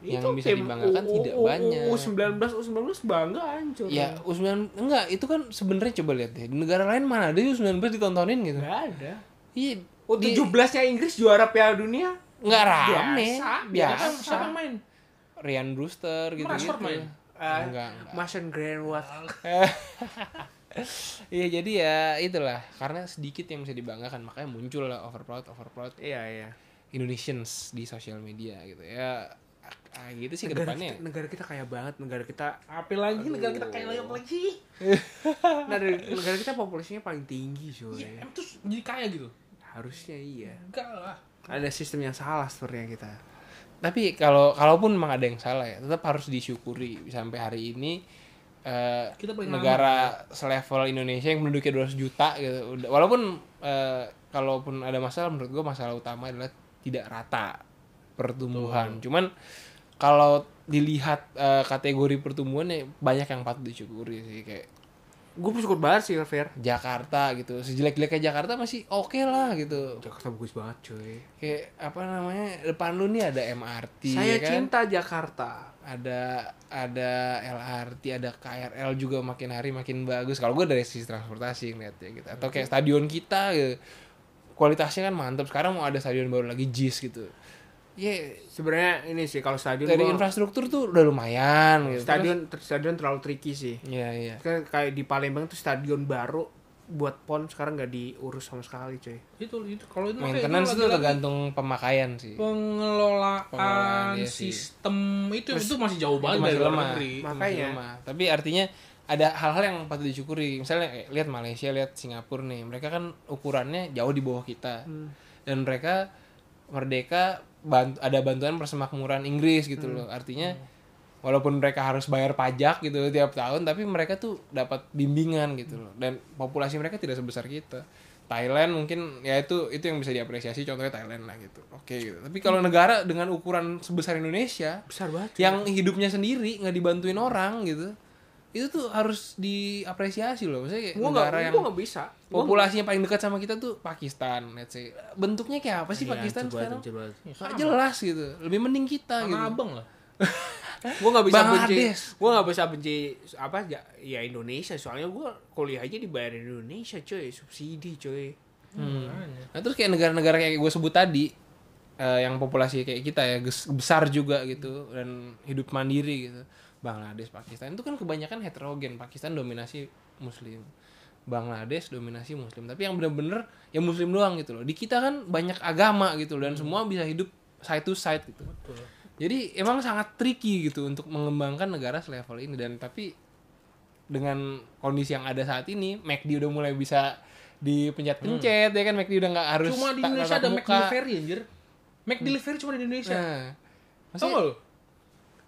Speaker 1: yang bisa dibanggakan tidak banyak.
Speaker 2: U19 U19 bangga hancur.
Speaker 1: ya U19 enggak itu kan sebenarnya coba lihat deh di negara lain mana ada U19 ditontonin gitu
Speaker 2: Nggak Oh, ada.
Speaker 1: iya di-
Speaker 2: U17-nya Inggris juara Piala Dunia.
Speaker 1: nggak rame
Speaker 2: Biasa,
Speaker 1: biasa,
Speaker 3: Siapa- Siapa yang main?
Speaker 1: Ryan Brewster gitu gitu
Speaker 3: Rashford main?
Speaker 2: Eh,
Speaker 1: enggak
Speaker 2: Mason Greenwood.
Speaker 1: Iya jadi ya itulah karena sedikit yang bisa dibanggakan makanya muncul lah overproud overproud
Speaker 2: Iya, iya.
Speaker 1: Indonesians di sosial media gitu ya ah, gitu sih
Speaker 2: Negara
Speaker 1: kedepannya
Speaker 2: kita, negara kita kaya banget, negara kita
Speaker 3: Apa lagi negara kita kaya lagi apa lagi?
Speaker 2: nah, dari- negara kita populasinya paling tinggi,
Speaker 3: Iya,
Speaker 2: coy.
Speaker 3: emang terus jadi kaya gitu.
Speaker 2: Harusnya iya.
Speaker 3: Enggak lah.
Speaker 2: Ada sistem yang salah sebenarnya kita.
Speaker 1: tapi kalau kalaupun memang ada yang salah ya tetap harus disyukuri sampai hari ini eh,
Speaker 3: Kita paling
Speaker 1: negara selevel Indonesia yang penduduknya 200 juta gitu Udah- walaupun eh, kalaupun ada masalah menurut gua masalah utama adalah tidak rata pertumbuhan cuman kalau dilihat eh, kategori pertumbuhannya banyak yang patut disyukuri sih kayak
Speaker 2: Gue bersyukur banget sih, Fer.
Speaker 1: Jakarta gitu sejelek-jeleknya Jakarta masih oke lah gitu
Speaker 2: Jakarta bagus banget, coy.
Speaker 1: kayak apa namanya depan lu nih ada MRT
Speaker 2: Saya
Speaker 1: ya kan?
Speaker 2: cinta Jakarta.
Speaker 1: ada ada LRT ada KRL juga makin hari makin bagus kalau gue dari sisi transportasi ngeliatnya gitu atau kayak stadion kita gitu. kualitasnya kan mantap sekarang mau ada stadion baru lagi JIS gitu ya
Speaker 2: Iya, Sebenarnya ini sih kalau stadion
Speaker 1: dari
Speaker 2: gua-
Speaker 1: infrastruktur tuh udah lumayan gitu
Speaker 2: stadion ter- stadion terlalu tricky sih.
Speaker 1: Terus- iya iya
Speaker 2: Kan kayak di Palembang tuh stadion baru buat pon sekarang nggak diurus sama sekali, coy.
Speaker 3: Itu itu kalau itu makanya
Speaker 1: maintenance itu
Speaker 3: lagi-lagi
Speaker 1: tergantung pemakaian sih
Speaker 3: pengelolaan,
Speaker 1: Pengelolaan, iya sih.
Speaker 3: sistem itu itu masih jauh banget
Speaker 1: itu
Speaker 3: dari
Speaker 1: masih
Speaker 3: luar
Speaker 1: lemah.
Speaker 3: negeri.
Speaker 1: Masih
Speaker 2: Makanya.
Speaker 1: lemah. Tapi artinya ada hal-hal yang patut disyukuri. Misalnya kayak lihat Malaysia, lihat Singapura nih. Mereka kan ukurannya jauh di bawah kita.
Speaker 3: Hmm.
Speaker 1: Dan mereka merdeka bant- ada bantuan persemakmuran Inggris gitu
Speaker 3: Hmm.
Speaker 1: loh. Artinya walaupun mereka harus bayar pajak gitu tiap tahun tapi mereka tuh dapat bimbingan gitu
Speaker 3: Hmm.
Speaker 1: loh. Dan populasi mereka tidak sebesar kita. Thailand mungkin ya itu itu yang bisa diapresiasi contohnya Thailand lah gitu. Oke gitu. Tapi
Speaker 3: Hmm.
Speaker 1: kalau negara dengan ukuran sebesar Indonesia
Speaker 2: Besar banget. coy.
Speaker 1: yang hidupnya sendiri nggak dibantuin orang gitu itu tuh harus diapresiasi loh maksudnya kayak
Speaker 2: gua nggak
Speaker 1: negara yang
Speaker 2: gua nggak bisa. Gua
Speaker 1: populasinya paling dekat sama kita tuh Pakistan let's say bentuknya kayak apa sih
Speaker 2: Iya,
Speaker 1: Pakistan sekarang nggak jelas gitu lebih mending kita
Speaker 3: Ya, kan? Tanah
Speaker 1: gitu
Speaker 3: abang lah.
Speaker 2: gue nggak bisa benci
Speaker 1: Bangladesh.
Speaker 2: gue nggak bisa benci apa ya, ya Indonesia soalnya gue kuliah aja dibayar di Indonesia coy subsidi coy
Speaker 3: Makanya.
Speaker 1: nah terus kayak negara-negara kayak gue sebut tadi eh, yang populasi kayak kita ya ges- besar juga gitu dan hidup mandiri gitu Bangladesh Pakistan itu kan kebanyakan heterogen Pakistan dominasi Muslim Bangladesh dominasi Muslim tapi yang bener-bener ya Muslim doang gitu loh di kita kan banyak agama gitu loh, dan semua bisa hidup side to side gitu jadi emang sangat tricky gitu untuk mengembangkan negara selevel ini dan tapi dengan kondisi yang ada saat ini McD udah mulai bisa dipencet-pencet ya kan McD udah nggak harus
Speaker 3: Hmm. Cuma di
Speaker 1: tak-
Speaker 3: Indonesia
Speaker 1: tatap
Speaker 3: ada
Speaker 1: muka.
Speaker 3: Mac ya? Delivery anjir. Mac Delivery cuma di Indonesia.
Speaker 1: Nah,
Speaker 3: Tau
Speaker 1: maksudnya,
Speaker 3: gak lo?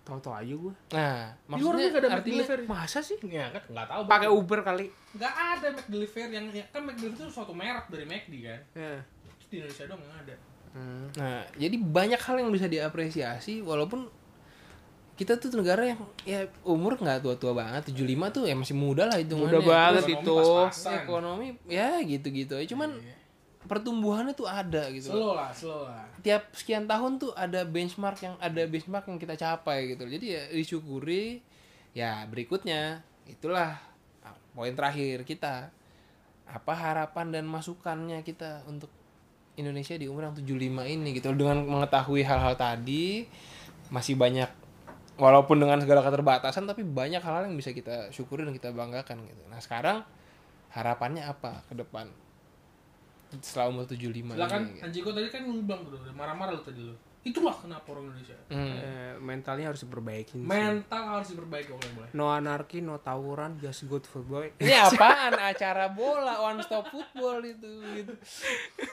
Speaker 2: Tahu-tahu aja gue.
Speaker 1: nah,
Speaker 3: Di luar
Speaker 1: maksudnya
Speaker 3: negeri nggak ada
Speaker 2: Iya,
Speaker 3: Mac
Speaker 1: artinya
Speaker 3: Delivery.
Speaker 2: Masa sih?
Speaker 3: Ya kan nggak tahu.
Speaker 2: Pakai Uber kali.
Speaker 3: Nggak ada Mac Delivery yang ya, kan Mac Delivery itu suatu merek dari McD kan.
Speaker 2: Ya.
Speaker 3: Terus di Indonesia doang nggak ada.
Speaker 2: Hmm.
Speaker 1: Nah, jadi banyak hal yang bisa diapresiasi walaupun kita tuh negara yang ya umur nggak tua-tua banget, 75 tuh ya masih muda lah hitungannya.
Speaker 2: Muda banget
Speaker 1: Terus
Speaker 2: itu.
Speaker 3: pas-pasan.
Speaker 1: Ekonomi ya gitu-gitu aja. Cuman
Speaker 3: Iya.
Speaker 1: pertumbuhannya tuh ada gitu.
Speaker 3: Slow lah, slow lah.
Speaker 1: Tiap sekian tahun tuh ada benchmark yang ada benchmark yang kita capai gitu. Jadi ya disyukuri ya berikutnya itulah ah, poin terakhir kita. Apa harapan dan masukannya kita untuk Indonesia di umur yang 75 ini gitu dengan mengetahui hal-hal tadi masih banyak walaupun dengan segala keterbatasan tapi banyak hal-hal yang bisa kita syukuri dan kita banggakan gitu. Nah, sekarang harapannya apa ke depan? Setelah umur 75 ini,
Speaker 3: Silakan
Speaker 1: gitu.
Speaker 3: Anjiko tadi kan lu bilang bro, udah marah-marah lu tadi lu. Itulah kenapa orang Indonesia.
Speaker 1: Hmm.
Speaker 2: Eh, mentalnya harus diperbaiki. sih.
Speaker 3: Mental harus diperbaiki oleh boleh.
Speaker 2: No anarki, no tawuran, just good for boy.
Speaker 1: Ini apaan acara bola one stop football itu gitu.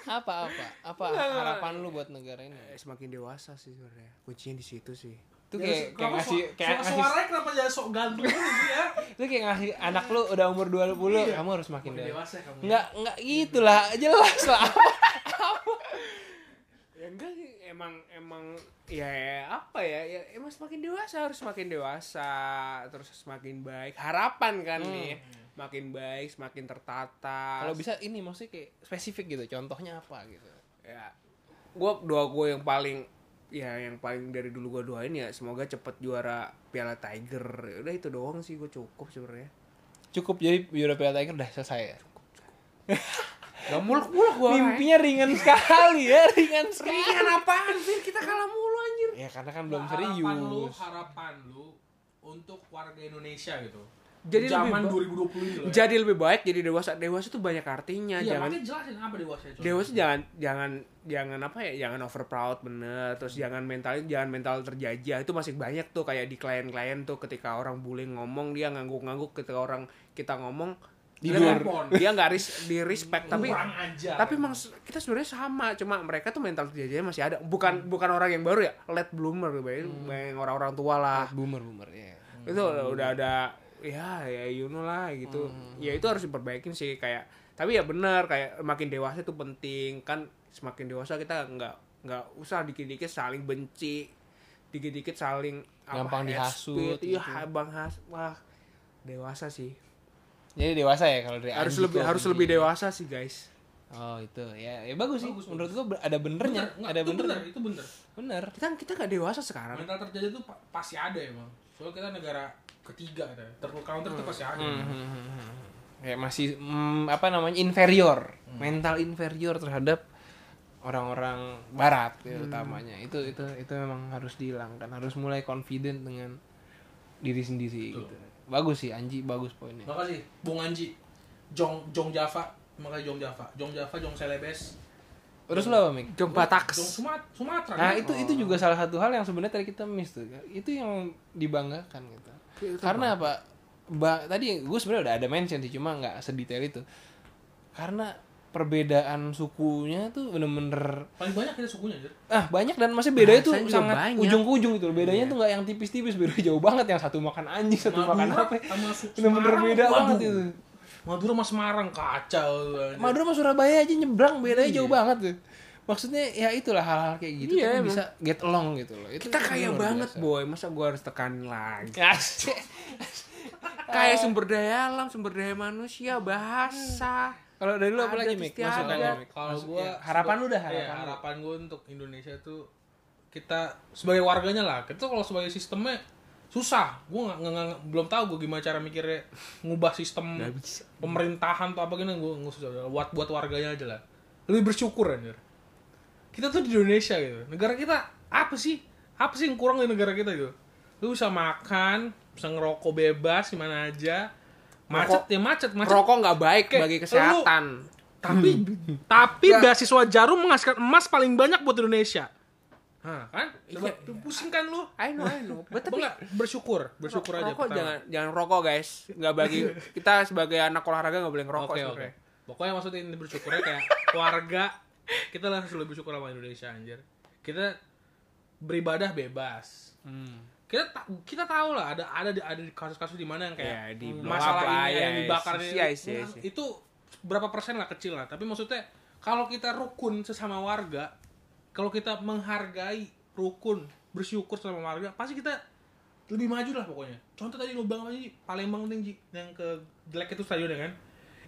Speaker 1: Apa apa? Apa harapan lu buat negara ini?
Speaker 2: Eh, Semakin dewasa sih sebenarnya. Kuncinya di situ sih.
Speaker 1: Itu kayak, kayak
Speaker 3: Kenapa
Speaker 1: ngasih
Speaker 3: su-
Speaker 1: kayak
Speaker 3: su-
Speaker 1: ngasih
Speaker 3: suaranya kenapa jadi sok ganteng gitu ya?
Speaker 1: itu kayak ngasih anak lu udah umur 20 kamu harus makin
Speaker 3: Makin
Speaker 1: Iya. dewasa.
Speaker 3: dewasa kamu.
Speaker 1: Enggak enggak gitulah, jelas lah.
Speaker 2: Ya enggak sih, emang emang ya apa ya? Ya emang semakin dewasa harus semakin dewasa, terus semakin baik. Harapan kan nih, makin baik, semakin tertata.
Speaker 1: Kalau bisa ini maksudnya kayak spesifik gitu, contohnya apa gitu.
Speaker 2: ya gue doa gue yang paling ya yang paling dari dulu gue doain ya semoga cepet juara Piala Tiger Ya udah itu doang sih gue cukup sebenarnya
Speaker 1: Cukup jadi European Tiger udah selesai ya.
Speaker 2: gak muluk muluk gue
Speaker 1: Mimpinya ringan sekali ya, ringan sekali.
Speaker 2: ringan apaan sih kita kalah mulu anjir
Speaker 1: Ya karena kan belum
Speaker 3: Harapan lu,
Speaker 1: serius.
Speaker 3: harapan lu untuk warga Indonesia gitu.
Speaker 2: Jadi
Speaker 3: zaman
Speaker 2: lebih
Speaker 3: 2020 ini loh. Ya.
Speaker 2: jadi lebih baik jadi dewasa dewasa tuh banyak artinya
Speaker 3: Iya,
Speaker 2: jangan
Speaker 3: makanya jelasin apa dewasa itu.
Speaker 2: dewasa jangan jangan jangan apa ya jangan over proud bener terus jangan mentalnya jangan mental terjajah itu masih banyak tuh kayak di klien-klien tuh ketika orang bullying ngomong dia ngangguk-ngangguk ketika orang kita ngomong dia
Speaker 1: Tidur.
Speaker 2: nggak- dia nggak ris- di respect tapi
Speaker 3: kurang
Speaker 1: Iya.
Speaker 3: aja.
Speaker 2: tapi emang se- kita sebenarnya sama cuma mereka tuh mental terjajahnya masih ada
Speaker 1: Hmm.
Speaker 2: bukan bukan orang yang baru ya late bloomer bayangin bayangin orang-orang tua lah
Speaker 1: Boomer boomer ya.
Speaker 2: itu udah, udah ada ya ya you know lah gitu
Speaker 1: Hmm.
Speaker 2: ya itu harus diperbaikin sih kayak tapi ya benar kayak makin dewasa itu penting kan semakin dewasa kita nggak nggak usah dikit-dikit saling benci dikit-dikit saling
Speaker 1: Gampang
Speaker 2: hate
Speaker 1: dihasut
Speaker 2: speech. iya
Speaker 1: gitu.
Speaker 2: bang has wah dewasa sih
Speaker 1: Jadi dewasa ya kalau dari
Speaker 2: harus
Speaker 1: Anji
Speaker 2: lebih
Speaker 1: tuh
Speaker 2: harus
Speaker 1: Anji.
Speaker 2: lebih dewasa sih guys
Speaker 1: Oh itu ya, ya bagus sih.
Speaker 3: Bagus,
Speaker 1: Menurut gua ber- ada benernya,
Speaker 3: Nggak,
Speaker 1: ada
Speaker 3: itu
Speaker 1: bener.
Speaker 3: bener, itu bener.
Speaker 1: Bener.
Speaker 2: kita kita nggak dewasa sekarang
Speaker 3: Mental terjadi itu pa- pasti ada emang. Soalnya kita negara ketiga ada. Terlalu counter itu pasti ada.
Speaker 1: Hmm.
Speaker 2: Hmm.
Speaker 1: Kayak masih mm, apa namanya inferior,
Speaker 2: Hmm.
Speaker 1: mental inferior terhadap orang-orang Barat ya,
Speaker 2: Hmm.
Speaker 1: utamanya. Itu itu itu memang harus dihilangkan. Harus mulai confident dengan diri sendiri
Speaker 3: Betul. Nah,
Speaker 1: gitu. Bagus sih Anji, bagus poinnya.
Speaker 3: Makasih Bung Anji. Jong Jong Java, makanya Jong Java. Jong Java, Jong Celebes.
Speaker 1: Terus lo apa, Mik?
Speaker 2: jom
Speaker 3: Jong
Speaker 2: bataks
Speaker 3: Sumat Sumatera.
Speaker 1: Nah
Speaker 2: Oh.
Speaker 1: itu itu juga salah satu hal yang sebenarnya tadi kita miss tuh. Itu yang dibanggakan gitu. Karena apa? Ba- tadi gue sebenarnya udah ada mention sih cuma nggak sedetail itu. Karena perbedaan sukunya tuh bener-bener
Speaker 3: paling banyak ada sukunya anjir.
Speaker 1: ah banyak dan masih bedanya tuh
Speaker 2: Bahasanya juga
Speaker 1: sangat
Speaker 2: banyak. Iya.
Speaker 1: ujung ke ujung gitu loh. bedanya tuh nggak yang tipis-tipis beda jauh banget yang satu makan anjing satu
Speaker 3: Madura
Speaker 1: makan apa
Speaker 3: sama Su-
Speaker 1: bener-bener
Speaker 3: Semarang,
Speaker 1: beda
Speaker 3: waduh.
Speaker 1: banget itu
Speaker 3: Madura sama Semarang kacau. anjir.
Speaker 1: Madura sama Surabaya aja nyebrang bedanya jauh banget tuh maksudnya ya itulah hal-hal kayak gitu
Speaker 2: Iya,
Speaker 1: tapi
Speaker 2: emang.
Speaker 1: bisa get along gitu loh itu
Speaker 2: kita kaya
Speaker 1: luar
Speaker 2: banget
Speaker 1: biasa.
Speaker 2: boy masa gua harus tekan lagi
Speaker 1: Asik.
Speaker 2: kayak sumber daya alam sumber daya manusia bahasa
Speaker 1: kalau dari lu apa
Speaker 2: Ada
Speaker 1: lagi Mik
Speaker 2: terus
Speaker 1: masukan
Speaker 2: tiada.
Speaker 1: Mik
Speaker 3: kalau
Speaker 1: Masuk-
Speaker 3: gua
Speaker 1: ya, harapan lu dah
Speaker 3: harapan,
Speaker 1: harapan lu.
Speaker 3: harapan gue untuk Indonesia tuh kita sebagai warganya lah kita tuh kalau sebagai sistemnya susah gue nggak nggak- nggak- belum tahu gue gimana cara mikirnya ngubah sistem pemerintahan atau apa gini gue nggak susah buat buat warganya aja lah lebih bersyukur anjir kita tuh di Indonesia gitu negara kita apa sih apa sih yang kurang di negara kita gitu lu bisa makan bisa ngerokok bebas di mana aja macet ya macet macet
Speaker 2: rokok nggak baik
Speaker 3: Oke,
Speaker 2: bagi kesehatan
Speaker 3: tapi
Speaker 2: Hmm.
Speaker 3: tapi beasiswa Jarum menghasilkan emas paling banyak buat Indonesia. Hah, kan? Coba pusing kan lu?
Speaker 2: I know I know but Iya. tapi
Speaker 3: Enggak, bersyukur, bersyukur aja.
Speaker 2: rokok
Speaker 3: pertama.
Speaker 2: jangan jangan rokok guys nggak bagi kita sebagai anak olahraga nggak boleh ngerokok
Speaker 3: Oke, oke.
Speaker 2: sebenarnya
Speaker 3: pokoknya maksudnya ini bersyukurnya kayak warga kita lah harus lebih syukur sama Indonesia anjir kita beribadah bebas
Speaker 2: Hmm.
Speaker 3: kita ta- kita tahu lah ada ada di- ada di kasus-kasus di mana yang
Speaker 2: Ya,
Speaker 3: kayak
Speaker 2: di blow
Speaker 3: masalah
Speaker 2: up lah,
Speaker 3: ini yang
Speaker 2: ya,
Speaker 3: dibakar
Speaker 2: ya,
Speaker 3: ini Iya.
Speaker 2: ya, ya, ya.
Speaker 3: itu berapa persen lah kecil lah tapi maksudnya kalau kita rukun sesama warga kalau kita menghargai rukun bersyukur sama warga pasti kita lebih maju lah pokoknya contoh tadi lo bang aja Palembang tinggi yang ke jelek itu stadion ya kan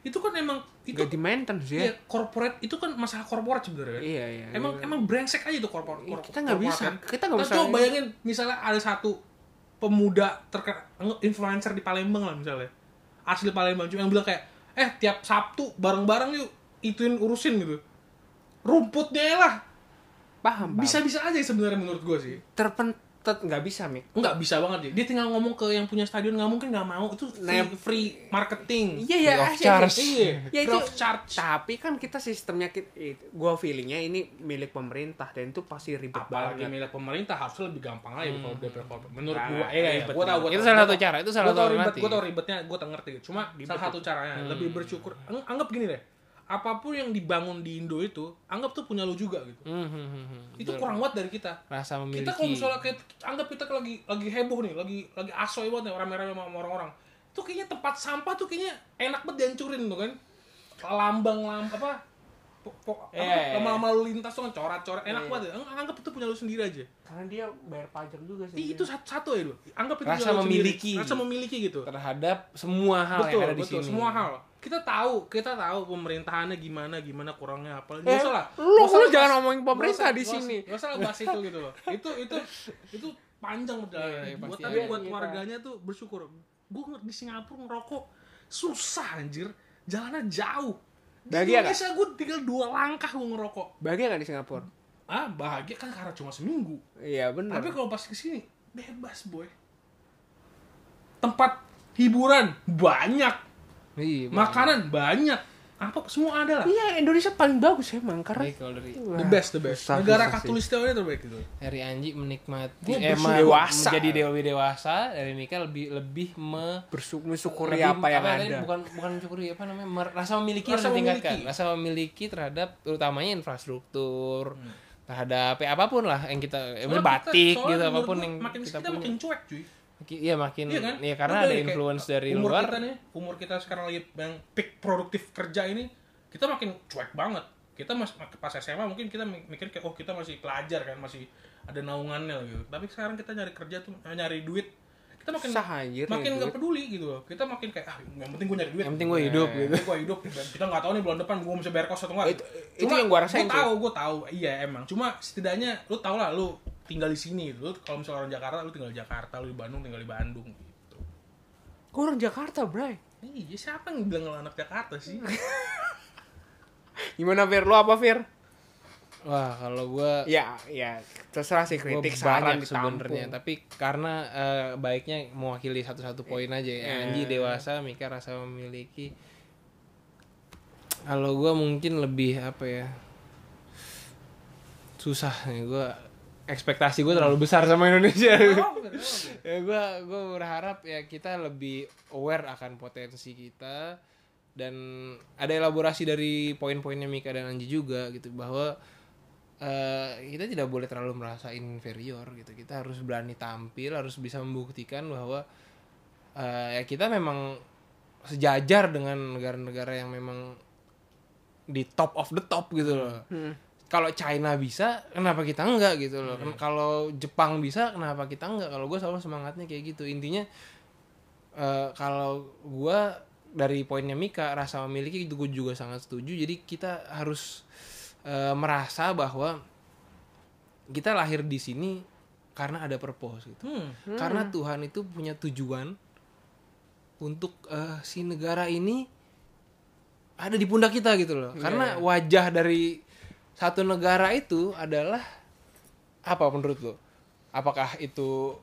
Speaker 3: itu kan emang itu
Speaker 2: Gak di maintenance ya.
Speaker 3: ya corporate itu kan masalah korporat sebenarnya kan?
Speaker 2: Iya, iya.
Speaker 3: emang
Speaker 2: iya.
Speaker 3: emang brengsek aja tuh korporat kan.
Speaker 2: Iya, kita nggak bisa. Kita nggak bisa.
Speaker 3: coba bayangin misalnya ada satu pemuda terkena influencer di Palembang lah misalnya asli Palembang cuma yang bilang kayak eh tiap Sabtu bareng-bareng yuk ituin urusin gitu rumputnya lah
Speaker 2: paham, paham. Bisa
Speaker 3: bisa-bisa aja sebenarnya menurut gue sih
Speaker 2: terpentet nggak bisa, Mik.
Speaker 3: nggak bisa banget sih dia tinggal ngomong ke yang punya stadion nggak mungkin nggak mau itu free,
Speaker 2: Nah,
Speaker 3: free marketing
Speaker 2: Iya, iya,
Speaker 1: Free of
Speaker 2: iya, iya,
Speaker 1: charge.
Speaker 2: Iya,
Speaker 3: Iya,
Speaker 2: Ya,
Speaker 3: free
Speaker 2: itu
Speaker 3: of charge
Speaker 2: tapi kan kita sistemnya kita, gua feelingnya ini milik pemerintah dan itu pasti ribet
Speaker 3: apalagi
Speaker 2: banget.
Speaker 3: milik pemerintah harusnya lebih gampang lagi kalau daripada korporat menurut
Speaker 2: Nah,
Speaker 3: gua iya iya
Speaker 2: ribet
Speaker 3: gua tahu
Speaker 2: banget.
Speaker 3: gua
Speaker 1: Itu
Speaker 3: tahu,
Speaker 1: salah
Speaker 3: gua
Speaker 1: satu
Speaker 3: tahu.
Speaker 1: cara, itu salah
Speaker 3: Gua tahu
Speaker 1: satu
Speaker 3: ribet
Speaker 1: alternatif.
Speaker 3: gua tahu ribetnya gua tahu ngerti cuma salah satu caranya
Speaker 1: Hmm.
Speaker 3: lebih bersyukur Ang- anggap gini deh apapun yang dibangun di Indo itu anggap tuh punya lu juga gitu
Speaker 1: Hmm, hmm, hmm, hmm.
Speaker 3: itu kurang kuat dari kita
Speaker 1: rasa memiliki.
Speaker 3: kita kalau misalnya kayak anggap kita lagi lagi heboh nih lagi lagi asoy banget nih rame-rame sama orang-orang itu kayaknya tempat sampah tuh kayaknya enak banget dihancurin tuh kan lambang lam apa po- po- apa,
Speaker 1: Eh.
Speaker 3: lama-lama lalu lintas tuh kan coret-coret
Speaker 1: Iya,
Speaker 3: enak banget ya. Ang- anggap itu punya lu sendiri aja
Speaker 2: Karena dia bayar pajak juga sih.
Speaker 3: Ih, itu satu, satu ya dulu anggap itu
Speaker 1: Iya. Rasa
Speaker 3: punya lu sendiri.
Speaker 1: memiliki.
Speaker 3: rasa memiliki gitu
Speaker 1: terhadap semua hal
Speaker 3: betul
Speaker 1: yang ada di
Speaker 3: betul
Speaker 1: sini.
Speaker 3: semua hal kita tahu kita tahu pemerintahannya gimana gimana kurangnya apa nggak
Speaker 2: Eh,
Speaker 3: usah lah
Speaker 2: lu-
Speaker 3: Nggak usah
Speaker 2: lu
Speaker 3: lah
Speaker 2: jangan
Speaker 3: bahas-
Speaker 2: ngomongin pemerintah
Speaker 3: nggak
Speaker 2: di
Speaker 3: usah-
Speaker 2: sini.
Speaker 3: nggak usah lah bahas itu gitu loh itu itu itu panjang perjalanan
Speaker 1: Iya, iya,
Speaker 3: buat
Speaker 1: pasti
Speaker 3: tapi
Speaker 1: ada.
Speaker 3: buat
Speaker 2: Iya, iya,
Speaker 3: warganya tuh bersyukur gue di Singapura ngerokok susah anjir jalannya jauh di
Speaker 2: Bahagia nggak?
Speaker 3: Indonesia gue tinggal dua langkah gue ngerokok
Speaker 2: Bahagia nggak di Singapura?
Speaker 3: ah bahagia kan karena cuma seminggu
Speaker 2: Iya benar.
Speaker 3: tapi kalau pas kesini bebas boy. Tempat hiburan banyak,
Speaker 1: Iya,
Speaker 3: makanan banyak, apa semua ada lah.
Speaker 2: Iya Indonesia paling bagus emang karena
Speaker 1: Baik,
Speaker 2: Iya.
Speaker 1: kalau dari
Speaker 3: The best, the best.
Speaker 2: Susah,
Speaker 3: Negara
Speaker 2: susah sih.
Speaker 3: katulistiwa ini terbaik gitu.
Speaker 1: dari Anji menikmati
Speaker 3: Gua
Speaker 1: eh,
Speaker 3: bersyukur.
Speaker 1: ma-
Speaker 2: Dewasa.
Speaker 1: menjadi dewa dewasa dari Nika lebih lebih me
Speaker 2: bersyukur mensyukuri
Speaker 1: lebih-
Speaker 2: apa yang
Speaker 1: tadi?
Speaker 2: ada.
Speaker 1: bukan bukan mensyukuri apa namanya mer- rasa memiliki
Speaker 3: Rasa
Speaker 1: rasa ditingkatkan
Speaker 3: memiliki.
Speaker 1: rasa memiliki terhadap terutamanya infrastruktur
Speaker 2: Hmm.
Speaker 1: terhadap ya, apapun lah yang kita eh,
Speaker 3: Soalnya
Speaker 1: batik
Speaker 3: kita- soalnya
Speaker 1: gitu
Speaker 3: menurut
Speaker 1: apapun
Speaker 3: gua
Speaker 1: yang
Speaker 3: makin
Speaker 1: kita
Speaker 3: kita
Speaker 1: punya
Speaker 3: makin cuek cuy.
Speaker 1: Makin- iya makin
Speaker 3: Iya kan?
Speaker 1: ya karena ada
Speaker 3: Udah deh, kayak
Speaker 1: influence dari
Speaker 3: umur
Speaker 1: luar
Speaker 3: Kita nih, umur kita sekarang lagi yang peak produktif kerja ini, kita makin cuek banget. Kita mas, pas SMA mungkin kita mi- mikir kayak oh kita masih pelajar kan, masih ada naungannya lah gitu. Tapi sekarang kita nyari kerja tuh eh, nyari duit, kita makin
Speaker 2: Susah, anjir,
Speaker 3: makin
Speaker 2: nyari
Speaker 3: nggak peduli gitu loh. Kita makin kayak ah yang penting gue nyari duit.
Speaker 1: Yang penting gua hidup,
Speaker 3: Eh,
Speaker 1: gitu.
Speaker 3: yang penting Gua hidup. Dan Kita nggak tahu nih bulan depan gue bisa bayar kos atau enggak.
Speaker 2: Itu- itu yang gua rasain,
Speaker 3: Gue
Speaker 2: cuy.
Speaker 3: tahu, gue tahu. Iya emang. Cuma setidaknya lu tau lah lu tinggal di sini gitu. Lu Kalau misalnya orang Jakarta lu tinggal di Jakarta, lu di Bandung tinggal di Bandung gitu.
Speaker 2: Gua orang Jakarta, Bray.
Speaker 3: Iya, siapa yang bilang lo anak Jakarta sih?
Speaker 1: Hmm.
Speaker 2: Gimana Fir? Lu apa Fir?
Speaker 1: wah kalau gua
Speaker 2: Ya, ya terserah sih
Speaker 1: Gua
Speaker 2: kritik
Speaker 1: banyak
Speaker 2: saran
Speaker 1: sebenarnya
Speaker 2: ditampung.
Speaker 1: tapi karena eh, baiknya mewakili satu-satu poin aja ya Anji dewasa Mika rasa memiliki kalau gua mungkin lebih apa ya susah nih gue ekspektasi gue terlalu besar sama Indonesia ya gue gue berharap ya kita lebih aware akan potensi kita dan ada elaborasi dari poin-poinnya Mika dan Anji juga gitu bahwa eh, kita tidak boleh terlalu merasa inferior gitu kita harus berani tampil harus bisa membuktikan bahwa eh, ya kita memang sejajar dengan negara-negara yang memang di top of the top gitu loh kalau China bisa kenapa kita enggak gitu loh Ken- kalau Jepang bisa kenapa kita enggak kalau gue selalu semangatnya kayak gitu intinya eh, kalau gue dari poinnya Mika rasa memiliki itu gue juga sangat setuju jadi kita harus eh, merasa bahwa kita lahir di sini karena ada purpose gitu
Speaker 3: Hmm.
Speaker 1: karena Tuhan itu punya tujuan untuk eh, si negara ini ada di pundak kita gitu loh
Speaker 3: Iya,
Speaker 1: karena wajah dari satu negara itu adalah apa menurut lo apakah itu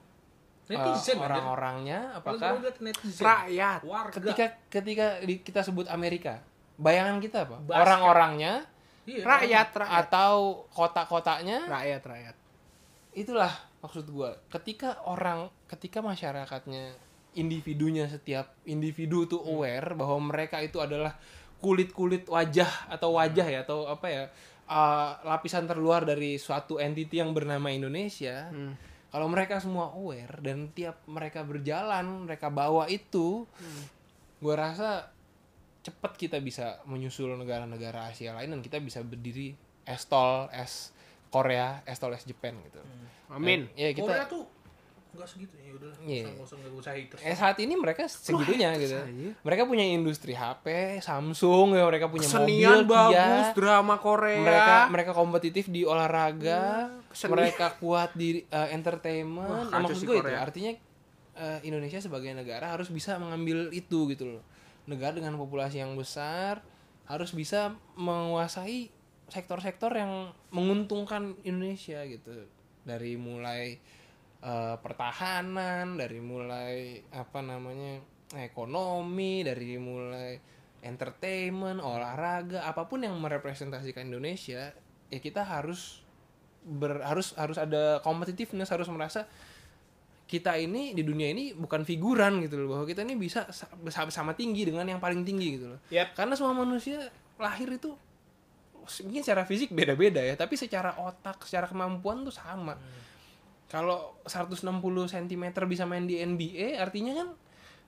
Speaker 1: eh,
Speaker 3: Netizen orang
Speaker 1: orang-orangnya apakah
Speaker 3: Apakah netizen?
Speaker 2: Rakyat.
Speaker 3: warga.
Speaker 1: ketika ketika di- kita sebut Amerika bayangan kita apa
Speaker 3: Basket.
Speaker 1: orang-orangnya
Speaker 3: Iya,
Speaker 2: Rakyat, rakyat.
Speaker 1: atau kota-kotanya
Speaker 2: Rakyat, rakyat.
Speaker 1: itulah maksud gua ketika orang ketika masyarakatnya individunya setiap individu tuh aware bahwa mereka itu adalah kulit-kulit wajah atau wajah ya atau apa ya uh, lapisan terluar dari suatu entity yang bernama Indonesia. Kalau mereka semua aware dan tiap mereka berjalan, mereka bawa itu, gua rasa cepat kita bisa menyusul negara-negara Asia lain dan kita bisa berdiri es tol es Korea, es tol es Jepang gitu.
Speaker 2: Amin.
Speaker 1: Ya kita
Speaker 3: Korea tuh nggak segitu ya udah
Speaker 1: Iya.
Speaker 3: nggak usah nggak usah haters
Speaker 1: eh saat ini mereka segitunya
Speaker 2: haters
Speaker 1: gitu.
Speaker 2: aja.
Speaker 1: Mereka punya industri HP, Samsung, ya, mereka punya
Speaker 2: Kesenian
Speaker 1: mobil,
Speaker 2: bagus,
Speaker 1: Kia.
Speaker 2: drama Korea.
Speaker 1: Mereka mereka kompetitif di olahraga,
Speaker 2: Iya, kesenian.
Speaker 1: mereka kuat di eh, entertainment.
Speaker 2: Wah, kacau
Speaker 1: Maksud
Speaker 2: sih
Speaker 1: gue itu
Speaker 2: Korea.
Speaker 1: artinya eh, Indonesia sebagai negara harus bisa mengambil itu gitu loh. Negara dengan populasi yang besar harus bisa menguasai sektor-sektor yang menguntungkan Indonesia gitu. Dari mulai eh, pertahanan, dari mulai apa namanya ekonomi, dari mulai entertainment, olahraga, apapun yang merepresentasikan Indonesia, ya kita harus ber, harus harus ada competitiveness, harus merasa kita ini di dunia ini bukan figuran gitu loh bahwa kita ini bisa sa- sama, sama tinggi dengan yang paling tinggi gitu loh.
Speaker 2: Yap.
Speaker 1: Karena semua manusia lahir itu mungkin secara fisik beda-beda ya, tapi secara otak, secara kemampuan tuh sama kalau 160 cm bisa main di NBA artinya kan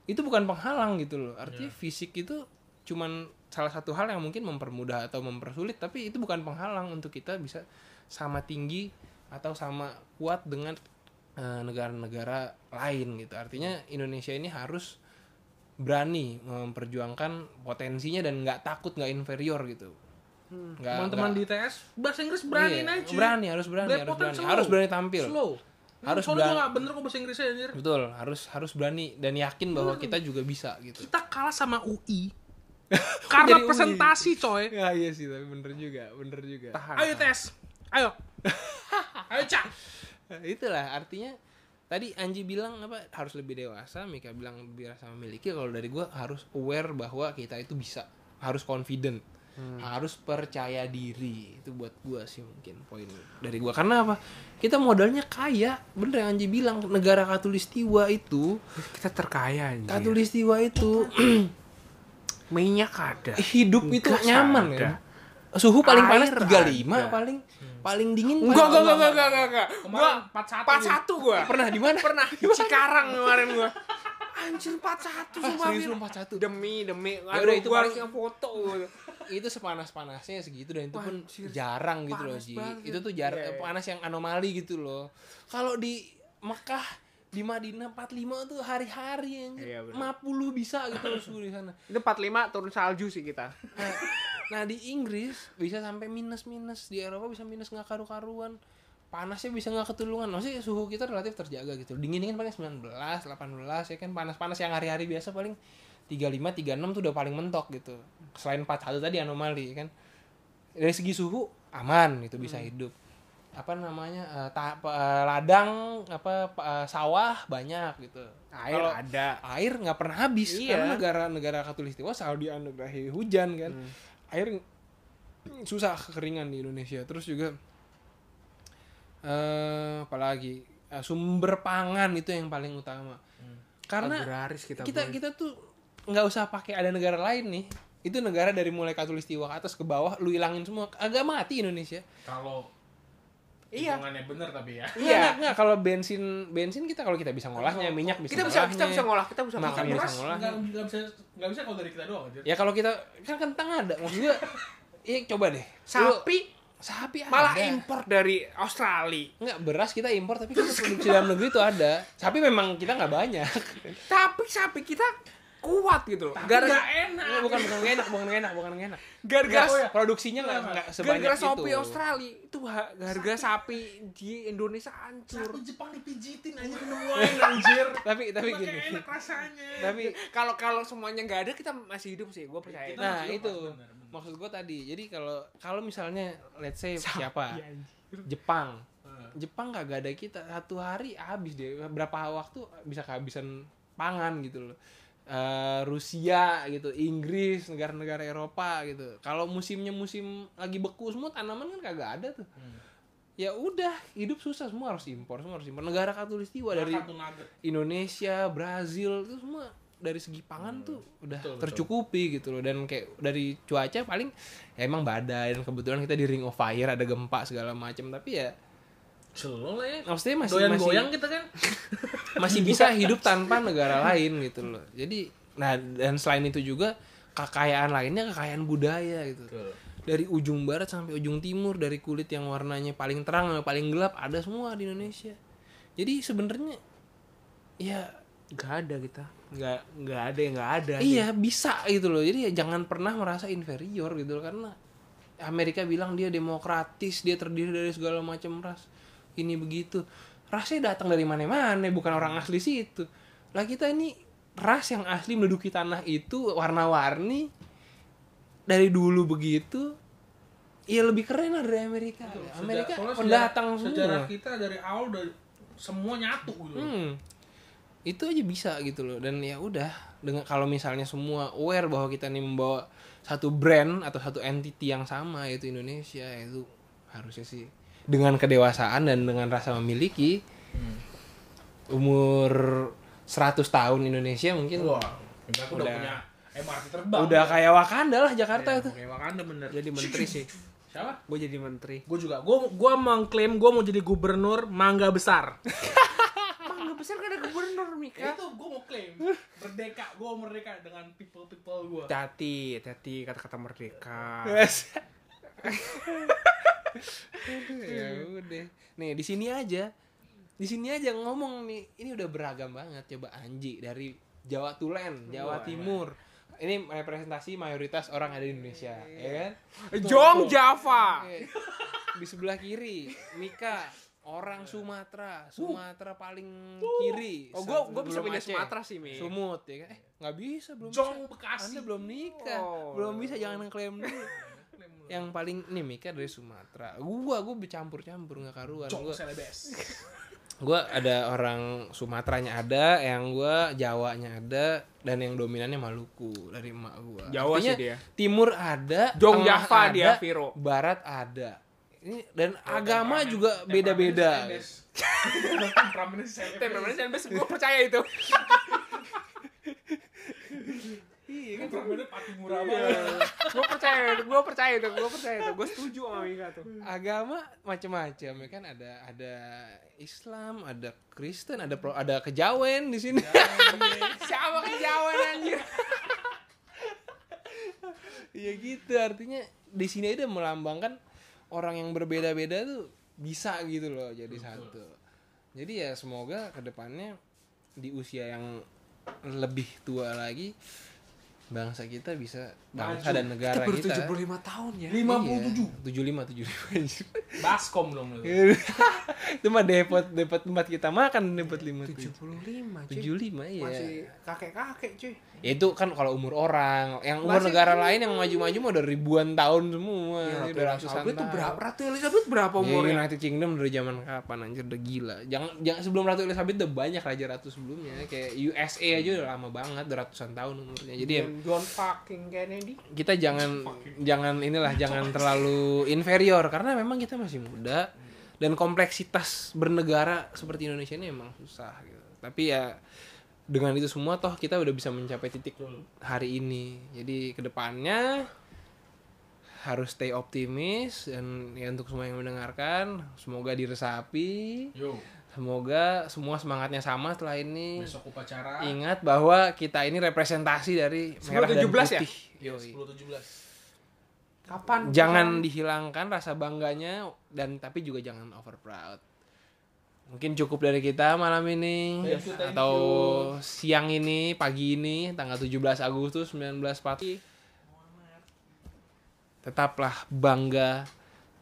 Speaker 1: itu bukan penghalang gitu loh
Speaker 3: Iya.
Speaker 1: artinya fisik itu cuman salah satu hal yang mungkin mempermudah atau mempersulit tapi itu bukan penghalang untuk kita bisa sama tinggi atau sama kuat dengan eh, negara-negara lain gitu artinya Indonesia ini harus berani memperjuangkan potensinya dan nggak takut nggak inferior gitu Nggak-
Speaker 3: Hmm. teman-teman di
Speaker 1: nggak-
Speaker 3: TS bahasa Inggris berani
Speaker 1: Iya,
Speaker 3: aja cuy.
Speaker 1: berani, harus berani, harus
Speaker 3: Belepotan
Speaker 1: berani.
Speaker 3: slow.
Speaker 1: Harus berani tampil.
Speaker 3: slow
Speaker 1: Harus berani.
Speaker 3: soalnya
Speaker 1: Iya.
Speaker 3: gue nggak bener kok bahasa Inggrisnya anjir
Speaker 1: betul harus harus berani dan yakin bahwa kita juga bisa gitu
Speaker 3: kita kalah sama UI karena
Speaker 1: Jadi UI.
Speaker 3: presentasi coy
Speaker 1: Ya iya sih tapi bener juga, bener juga.
Speaker 3: ayo tes ayo ayo cak
Speaker 1: Itulah artinya tadi Anji bilang apa harus lebih dewasa, Mika bilang lebih rasa memiliki. Kalau dari gua harus aware bahwa kita itu bisa, harus confident, harus percaya diri. Itu buat gua sih mungkin poin dari gua. Karena apa? Kita modalnya kaya, bener yang Anji bilang negara Katulistiwa itu,
Speaker 2: Kita terkaya
Speaker 1: Iya.
Speaker 2: anjir.
Speaker 1: Katulistiwa itu
Speaker 2: Minyak ada.
Speaker 1: hidup itu
Speaker 2: Gas
Speaker 1: nyaman
Speaker 2: ada.
Speaker 1: ya. Suhu paling
Speaker 2: Air
Speaker 1: panas 35
Speaker 2: ada.
Speaker 1: paling paling dingin
Speaker 2: Enggak,
Speaker 1: paling-
Speaker 2: enggak, enggak, enggak, enggak, enggak. Gua
Speaker 3: kemarin
Speaker 2: 41
Speaker 3: 41
Speaker 2: gua.
Speaker 1: Pernah di mana?
Speaker 2: Pernah di Cikarang kemarin gua. Anjir 41 sumpah.
Speaker 1: Ah, serius
Speaker 2: Mir.
Speaker 1: lu 41?
Speaker 2: Demi, demi.
Speaker 1: Ya
Speaker 2: Aduh,
Speaker 1: udah, itu
Speaker 2: itu gua harus
Speaker 1: paling-
Speaker 2: foto. gua.
Speaker 1: itu sepanas-panasnya segitu dan itu
Speaker 2: Wah,
Speaker 1: pun
Speaker 2: anjir.
Speaker 1: jarang gitu loh
Speaker 2: Panas
Speaker 1: Ji.
Speaker 2: banget.
Speaker 1: Itu tuh jarang
Speaker 2: Iya, iya.
Speaker 1: panas yang anomali gitu loh. Kalau di Mekah di Madinah 45 tuh hari-hari anjir.
Speaker 2: Iya, bener.
Speaker 1: 50 bisa gitu loh suhu di sana.
Speaker 2: Itu 45 turun salju sih kita.
Speaker 1: Nah, nah, di Inggris bisa sampai minus-minus di Eropa bisa minus nggak karu-karuan. Panasnya bisa nggak ketulungan. Maksudnya suhu kita relatif terjaga gitu. Dingin kan paling 19, 18 ya kan panas-panas yang hari-hari biasa paling 35, 36 tuh udah paling mentok gitu. Selain 41 tadi anomali ya kan. Dari segi suhu aman gitu bisa hidup apa namanya eh, ta- apa, eh, ladang apa eh, sawah banyak gitu
Speaker 2: Air
Speaker 1: Kalau-
Speaker 2: ada.
Speaker 1: air nggak pernah habis
Speaker 2: Iya.
Speaker 1: karena negara-negara Katulistiwa selalu dianugerahi hujan kan
Speaker 2: Hmm.
Speaker 1: air susah kekeringan di Indonesia terus juga eh apalagi eh, sumber pangan itu yang paling utama
Speaker 2: Hmm.
Speaker 1: karena
Speaker 2: Agraris kita.
Speaker 1: kita
Speaker 2: Boy.
Speaker 1: kita tuh nggak usah pakai ada negara lain nih itu negara dari mulai Katulistiwa ke atas ke bawah lu ilangin semua agak mati Indonesia
Speaker 3: kalau
Speaker 2: Iya.
Speaker 3: hitungannya bener tapi ya
Speaker 1: Nggak, nggak, nggak. kalau bensin bensin kita kalau kita bisa ngolahnya minyak bisa
Speaker 2: Oh. kita bisa kita
Speaker 1: ngolahnya.
Speaker 2: bisa ngolah, kita bisa
Speaker 1: Makan
Speaker 2: makan.
Speaker 1: bisa
Speaker 3: beras
Speaker 1: ngolah.
Speaker 3: nggak nggak bisa nggak bisa kalau dari kita doang anjir
Speaker 1: Ya kalau kita kan kentang ada maksud gua. Iya coba deh. Lu-
Speaker 2: Sapi
Speaker 1: sapi ada.
Speaker 2: malah impor dari Australia.
Speaker 1: Enggak beras kita impor tapi kan produksi dalam negeri itu ada. Sapi memang kita nggak banyak.
Speaker 2: Tapi sapi kita kuat gitu loh.
Speaker 3: Tapi
Speaker 2: Gara-
Speaker 3: nggak enak
Speaker 1: Enggak, bukan bukan nggak enak, bukan nggak enak, bukan nggak enak.
Speaker 2: Gara-gara
Speaker 3: Oh, iya.
Speaker 1: Produksinya nggak nggak sebanyak
Speaker 2: gara-gara
Speaker 1: itu.
Speaker 2: sapi Australia itu ha- harga sapi di Indonesia hancur.
Speaker 3: Sapi Jepang dipijitin anjir minum wine anjir
Speaker 1: Tapi tapi
Speaker 3: Makanya
Speaker 1: gini.
Speaker 3: enak rasanya
Speaker 1: Tapi
Speaker 2: Kalau kalau semuanya nggak ada kita masih hidup sih, gue percaya.
Speaker 3: Kita-
Speaker 1: nah
Speaker 3: masih
Speaker 1: itu
Speaker 3: lepas, benar, benar.
Speaker 1: maksud gua tadi. Jadi kalau kalau misalnya let's say
Speaker 2: Nah,
Speaker 1: siapa?
Speaker 2: iya.
Speaker 1: Jepang.
Speaker 3: Eh,
Speaker 1: Jepang kagak ada kita satu hari habis deh berapa waktu bisa kehabisan pangan gitu loh Eh, Rusia gitu Inggris negara-negara Eropa gitu kalau musimnya musim lagi beku semua tanaman kan kagak ada tuh
Speaker 3: Hmm.
Speaker 1: ya udah hidup susah
Speaker 3: Nah,
Speaker 1: semua harus impor semua harus impor negara katulistiwa dari
Speaker 3: makan tuh nugget.
Speaker 1: Indonesia Brazil itu semua dari segi pangan tuh udah
Speaker 3: Hmm. Betul, betul.
Speaker 1: tercukupi gitu loh dan kayak dari cuaca paling ya emang badai dan kebetulan kita di ring of fire ada gempa segala macam tapi ya
Speaker 3: Selo lah ya.
Speaker 1: maksudnya masih
Speaker 3: Doyan
Speaker 1: masih
Speaker 3: goyang kita kan.
Speaker 1: masih bisa hidup tanpa negara lain gitu loh jadi nah dan selain itu juga kekayaan lainnya kekayaan budaya gitu dari ujung barat sampai ujung timur dari kulit yang warnanya paling terang yang paling gelap ada semua di Indonesia jadi sebenarnya ya
Speaker 2: nggak ada kita nggak nggak ada yang nggak ada
Speaker 1: iya bisa gitu loh jadi ya jangan pernah merasa inferior gitu loh karena Amerika bilang dia demokratis dia terdiri dari segala macam ras ini begitu rasnya datang dari mana-mana bukan orang asli situ lah kita ini ras yang asli menduduki tanah itu warna-warni dari dulu begitu ya lebih keren lah dari Amerika Amerika
Speaker 3: Sejarah- soalnya
Speaker 1: pendatang
Speaker 3: sejarah-
Speaker 1: semua
Speaker 3: Sejarah kita dari awal dari semua nyatu gitu.
Speaker 1: Hmm. Itu aja bisa gitu loh dan ya udah dengan kalau misalnya semua aware bahwa kita nih membawa satu brand atau satu entity yang sama yaitu Indonesia itu harusnya sih dengan kedewasaan dan dengan rasa memiliki
Speaker 2: Hmm.
Speaker 1: umur 100 tahun Indonesia mungkin
Speaker 3: Wah, kita udah,
Speaker 1: Udah.
Speaker 3: punya MRT terbang.
Speaker 1: udah kayak Wakanda lah Jakarta itu.
Speaker 3: Kayak Wakanda bener.
Speaker 2: Iya, jadi menteri sih
Speaker 3: Siapa?
Speaker 2: gue jadi menteri
Speaker 3: Gue juga. Gue gua mengklaim gue mau jadi gubernur mangga besar.
Speaker 2: nggak besar kan ada gubernur Mika
Speaker 3: Ya Itu gue mau klaim. Merdeka. Gue merdeka dengan people-people gue.
Speaker 2: hati hati kata-kata merdeka Iya.
Speaker 1: ya udah. Nih di sini aja. Di sini aja ngomong nih. Ini udah beragam banget. Coba Anji dari Jawa Tulen, Jawa Timur. Ini representasi mayoritas orang ada di Indonesia,
Speaker 2: Iya.
Speaker 1: ya kan?
Speaker 2: Eh, Jong Java
Speaker 1: Oke. Di sebelah kiri, Mika orang Sumatera, Sumatera paling kiri.
Speaker 2: Oh, gua- gua
Speaker 1: Sebelum
Speaker 2: bisa pindah
Speaker 1: Aceh.
Speaker 2: Sumatera sih, Mi.
Speaker 1: Sumut ya kan? Eh, nggak bisa belum.
Speaker 3: Jong
Speaker 1: bisa.
Speaker 3: Bekasi.
Speaker 1: Anda belum nikah,
Speaker 2: Oh.
Speaker 1: belum bisa jangan klaim dulu. Yang paling nih Mika dari Sumatera. Gua gua bercampur-campur nggak karuan.
Speaker 3: Jong
Speaker 1: Gua,
Speaker 3: selebes.
Speaker 1: gua ada orang Sumateranya ada, yang gua Jawanya ada, dan yang dominannya Maluku dari emak gua.
Speaker 2: Jawa sih
Speaker 1: Artinya,
Speaker 2: dia.
Speaker 1: Timur ada,
Speaker 2: Jong
Speaker 1: tengah
Speaker 2: Java
Speaker 1: ada,
Speaker 2: dia, Viro.
Speaker 1: Barat ada. Ini dan agama juga beda-beda.
Speaker 3: Temperamennya selebes.
Speaker 2: Temperamennya selebes, gue percaya itu.
Speaker 3: Temperamennya pati murah Iya,
Speaker 2: Iya.
Speaker 3: banget.
Speaker 2: gue percaya, gue percaya itu, gue percaya itu, gue setuju sama Mika tuh.
Speaker 1: agama macam-macam ya kan ada ada Islam ada Kristen ada pro, ada kejawen di sini
Speaker 2: Siapa kejauhan anjir?
Speaker 1: ya gitu artinya di sini aja udah melambangkan orang yang berbeda-beda tuh bisa gitu loh jadi satu jadi ya semoga kedepannya di usia yang lebih tua lagi bangsa kita bisa bangsa dan negara kita, Iya,
Speaker 2: Kita baru 75 tahun ya.
Speaker 3: 57.
Speaker 1: tujuh lima tujuh
Speaker 3: Baskom dong lu.
Speaker 1: itu mah depot depot tempat kita makan depot lima
Speaker 2: 75 cuy.
Speaker 1: tujuh lima iya
Speaker 2: Masih kakek-kakek cuy.
Speaker 1: Ya itu kan kalau umur orang yang umur negara lain yang maju-maju mah udah ribuan tahun
Speaker 2: Iya,
Speaker 1: semua ya, udah ratusan
Speaker 2: Elizabeth tuh
Speaker 1: tahun.
Speaker 2: berapa? Ratu Elizabeth berapa
Speaker 1: Ya,
Speaker 2: umurnya?
Speaker 1: United Kingdom dari zaman kapan anjir udah gila. Jangan jangan sebelum Ratu Elizabeth udah banyak raja ratu sebelumnya kayak USA aja udah lama banget udah ratusan tahun umurnya. Jadi ya,
Speaker 2: John fucking Kennedy.
Speaker 1: kita jangan jangan inilah jangan terlalu inferior karena memang kita masih muda dan kompleksitas bernegara seperti Indonesia ini emang susah gitu. Tapi ya dengan itu semua toh kita udah bisa mencapai titik hari ini. Jadi kedepannya harus stay optimis dan ya untuk semua yang mendengarkan semoga diresapi,
Speaker 3: Yo,
Speaker 1: semoga semua semangatnya sama setelah ini.
Speaker 3: besok upacara.
Speaker 1: Ingat bahwa kita ini representasi dari merah dan
Speaker 2: 10-17 ya?
Speaker 1: putih.
Speaker 3: Iya,
Speaker 1: Yoi
Speaker 3: 10-17.
Speaker 2: Kapan?
Speaker 1: jangan dihilangkan rasa bangganya dan tapi juga jangan over proud. Mungkin cukup dari kita malam ini
Speaker 3: Thank you, thank
Speaker 1: atau siang ini, pagi ini tanggal 17 Agustus
Speaker 3: Iya.
Speaker 1: 1940. Tetaplah bangga,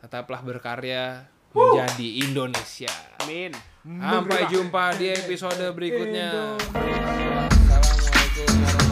Speaker 1: tetaplah berkarya menjadi Indonesia.
Speaker 2: Amin.
Speaker 1: Sampai jumpa di episode berikutnya. Assalamualaikum warahmatullahi wabarakatuh.